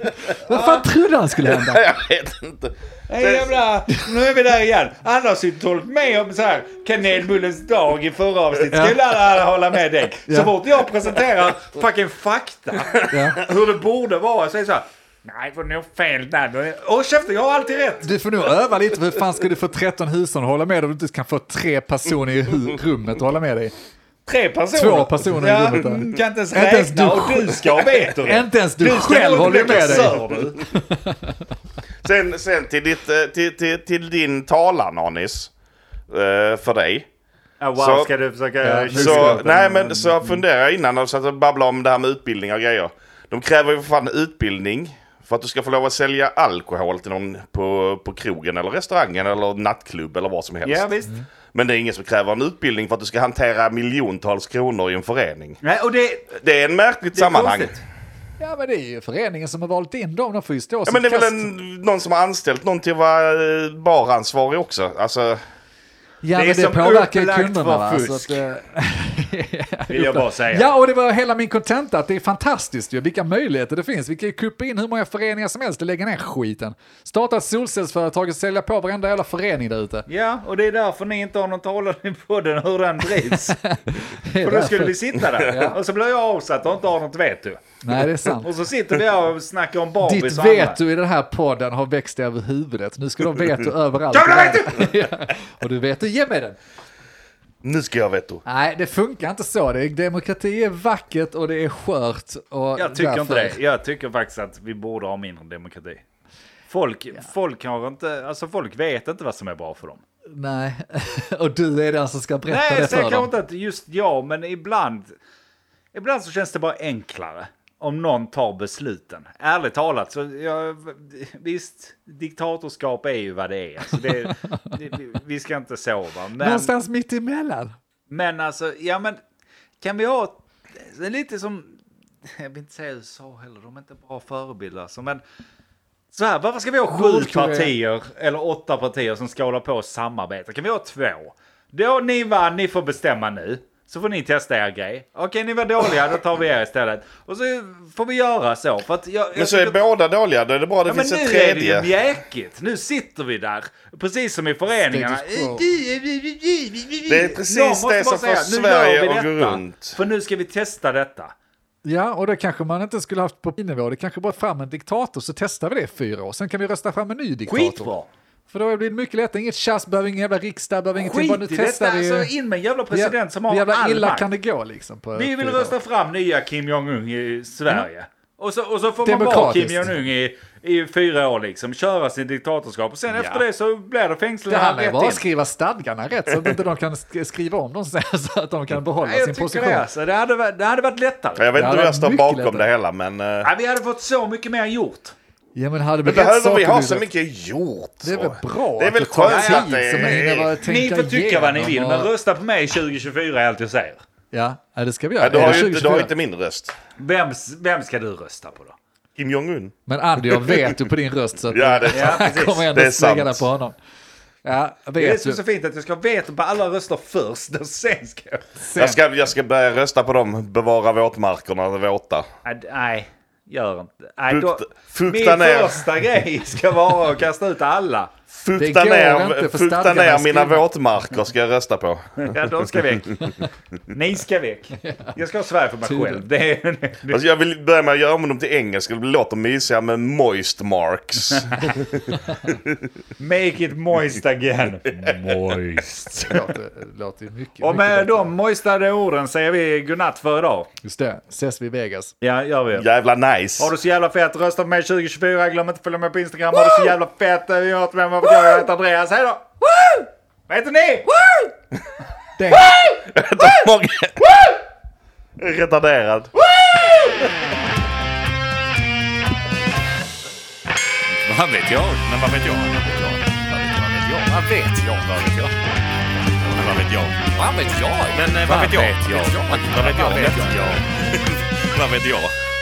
D: Vad fan trodde han skulle hända?
E: Jag vet inte.
C: Nej, jävla, nu är vi där igen. Alla har suttit och hållit med om så här kanelbullens dag i förra avsnittet.
D: Ja.
C: Skulle alla, alla hålla med dig? Så
D: Ja.
C: fort jag presenterar fucking fakta,
D: Ja.
C: hur det borde vara, så är det så här. Nej, det var nog fel där. Håll käften, jag har alltid rätt.
D: Du får nog öva lite, för hur fan ska du få 13 hushåll att hålla med om du inte kan få tre personer i hu- rummet att hålla med dig?
C: Tre personer.
D: Två personer i
C: ja,
D: rummet där.
C: mm, Kan inte ens
D: Inte ens
C: räkna
D: du
C: och
D: själv.
C: du ska ha veto.
D: Inte ens du,
C: ska
D: själv
C: nog
D: håller ju
C: bli
D: med dig.
C: kassör, du.
E: Sen, sen till, ditt, eh, till, till, till din talan, Anis. Eh, För dig.
C: Ja, wow,
E: Så-
C: ska du försöka...
D: Ja, nu ska
E: Så,
D: jag-
E: nej, men så funderar jag innan och satt och babblade om det här med utbildning och grejer. De kräver ju för fan utbildning för att du ska få lov att sälja alkohol till någon på, på krogen eller restaurangen eller nattklubb eller vad som helst.
C: Ja, visst.
D: Mm.
E: Men det är ingen som kräver en utbildning för att du ska hantera miljontals kronor i en förening.
C: Nej, och det...
E: Det är en märkligt
C: Det är
E: sammanhang.
C: konstigt.
D: Ja, men det är ju föreningen som har valt in dem, de får ju stå
E: Ja, men det är väl en, någon som har anställt någon till att vara eh, baransvarig också. Alltså,
D: Ja,
C: det är
D: men det
C: som
D: påverkar ju
C: upplagt
D: kunderna.
C: för
D: Va? Så
C: fusk.
D: att, eh,
C: Vill jag bara säga.
D: ja, och det var hela min kontenta, att det är fantastiskt ju, vilka möjligheter det finns. Vi kan ju kuppa in hur många föreningar som helst och lägga ner skiten. Starta ett solcellsföretag och sälja på varenda jävla förening där ute.
C: Ja, och det är därför ni inte har någon talan i podden hur den drivs.
D: [LAUGHS] Det är
C: För då
D: därför-
C: skulle vi sitta där. Och så blir jag avsatt och inte har något veto.
D: Nej, det
C: [LAUGHS]
D: är sant.
C: Och så sitter vi här och snackar om Barbies
D: Ditt
C: och andra.
D: veto i den här podden har växt dig över huvudet. Nu ska
C: [LAUGHS]
D: de veto överallt.
C: Jag vill ha
D: [LAUGHS] Ja. Och du veto, ge mig den.
E: nu ska jag veta.
D: Nej, det funkar inte så. Det är, demokrati är vackert och det är skört. Och
C: Jag tycker inte
D: därför-
C: det. Jag tycker faktiskt att vi borde ha mindre demokrati. Folk, folk har inte, alltså folk vet inte vad som är bra för dem.
D: Nej, [LAUGHS] och du är den som ska berätta
C: Nej,
D: det
C: så jag
D: för
C: kanske
D: dem.
C: inte att just jag, men ibland, ibland så känns det bara enklare om någon tar besluten. Ärligt talat, så jag, visst, diktatorskap är ju vad det är. Alltså det, det, vi ska inte sova, men,
D: Någonstans mitt emellan.
C: men alltså, ja men kan vi ha det är lite som, jag vill inte säga USA heller, de är inte bra förebilder, alltså, men så här, varför ska vi ha sju
D: Nordkorea.
C: partier eller åtta partier som ska hålla på och samarbeta? Kan vi ha två? Då ni vann, ni får bestämma nu. Så får ni testa er grej. Okej, ni var dåliga, då tar vi er istället. Och så får vi göra så. För att jag, jag
E: Men så är
C: tycker-
E: båda dåliga, då är det bra att det
C: Ja, men
E: finns
C: nu
E: ett
C: är det ju
E: tredje.
C: mjäkigt. Nu sitter vi där, precis som i föreningarna.
D: Status quo.
E: Det är precis
C: Någon måste
E: det som
C: bara säga,
E: får
C: "Nu gör vi
E: Sverige att gå
C: detta,
E: runt."
C: För nu ska vi testa detta.
D: Ja, och det kanske man inte skulle haft på nivå. Det kanske bara fram en diktator så testar vi det i fyra år. Sen kan vi rösta fram en ny diktator.
C: Skitbra!
D: För då blir det mycket lättare. Inget tjafs, behöver ingen jävla riksdag, behöver ingenting.
C: Skit
D: typ Bara nu
C: i detta!
D: testar vi.
C: Alltså in med en jävla
D: Hur jä-
C: president som
D: hur
C: har
D: jävla
C: all
D: illa
C: makt.
D: kan det gå liksom? På
C: Vi vill
D: fyra år?
C: rösta fram nya Kim Jong-Un i Sverige. Och, så, och så får man vara Kim
D: Mm. Demokratiskt.
C: Jong-Un i, i fyra år liksom, köra sin diktatorskap. Och sen efter det så blir det
D: Det
C: fängslande
D: handlar ju
C: rätt
D: bara om
C: in.
D: att skriva stadgarna rätt så att inte de kan sk- skriva om dem sen [LAUGHS] så att de kan behålla
C: Nej, jag
D: sin
C: tycker
D: position.
C: det. Alltså. Det, hade, varit- det hade varit lättare.
E: Jag vet inte
D: Det hade
E: om jag
D: varit
E: står
D: mycket
E: bakom
D: lättare.
E: det heller, men... eh,
C: Ja, vi hade fått så mycket mer gjort.
D: Ja men hade
E: Men
D: väl rätt
E: behöver vi
D: saker
E: ha
D: du
E: så
D: vet.
E: mycket gjort?
D: Det är
E: så?
D: väl bra
E: Det är
D: att
E: väl
D: det tar
E: skönt
D: tid
E: att det
D: så man hinner bara
E: är...
C: Ni
D: tänka
C: får tycka vad ni
D: igenom
C: vill, men
D: och-
C: rösta på mig 2024 är allt jag säger.
D: Ja, ja, det ska vi göra.
E: Ja, Du har
D: Eller
E: ju inte, du har
D: 2024.
E: inte min röst.
C: Vem, vem ska du rösta på då?
E: Kim Jong-Un.
D: Men Andy, jag vet ju på din röst så att
E: Ja,
C: [LAUGHS]
E: det är sant.
D: jag kommer ändå
E: Det är
D: slänga den
E: sant.
D: på honom. Ja,
C: Det är det
D: vet
C: som
D: du.
C: är så fint att jag ska veta på alla röster först [LAUGHS] och sen ska jag...
E: Jag ska, jag ska börja rösta på dem. Bevara våtmarkerna våta.
C: Nej, d- Nej, gör inte. Nej, då,
E: Fukta, fukta
C: min
E: ner,
C: första grej ska vara att kasta ut alla.
D: Det
E: fukta
D: går
E: ner,
D: inte, för
E: fukta
D: stadgarna är
E: ner mina
D: skrivna.
E: våtmarker ska jag rösta på.
C: Ja, de ska väck. Ni ska väck. Jag ska ha Sverige för mig
D: Tydligt.
C: själv. Det är, [LAUGHS]
E: Alltså jag vill börja med att göra om dem till engelska. Det låter mysigare med moist
D: [LAUGHS]
E: marks.
C: make it moist again.
D: Moist. Det låter- det låter ju mycket.
C: Och med
D: mycket bättre.
C: de moistade orden säger vi godnatt för idag.
D: Just det, ses vi i Vegas.
C: Ja, gör vi.
E: Jävla nice. [LAUGHS]
C: Har du så jävla fett, rösta på mig 2024. Glöm inte att följa mig på Instagram. Har du så jävla fett, vi har hört vem varför jag Jag heter Andreas. Hej då! Vad heter ni?
D: Det-
E: Många- Retarderad.
B: Vad vet jag? Men vad vet jag? Vad vet jag? Vad vet jag? Vad vet jag? Men vad vet jag? Vad vet jag? Men eh, vad vet jag? Vad vet jag? Vad vet jag? Vad vet jag?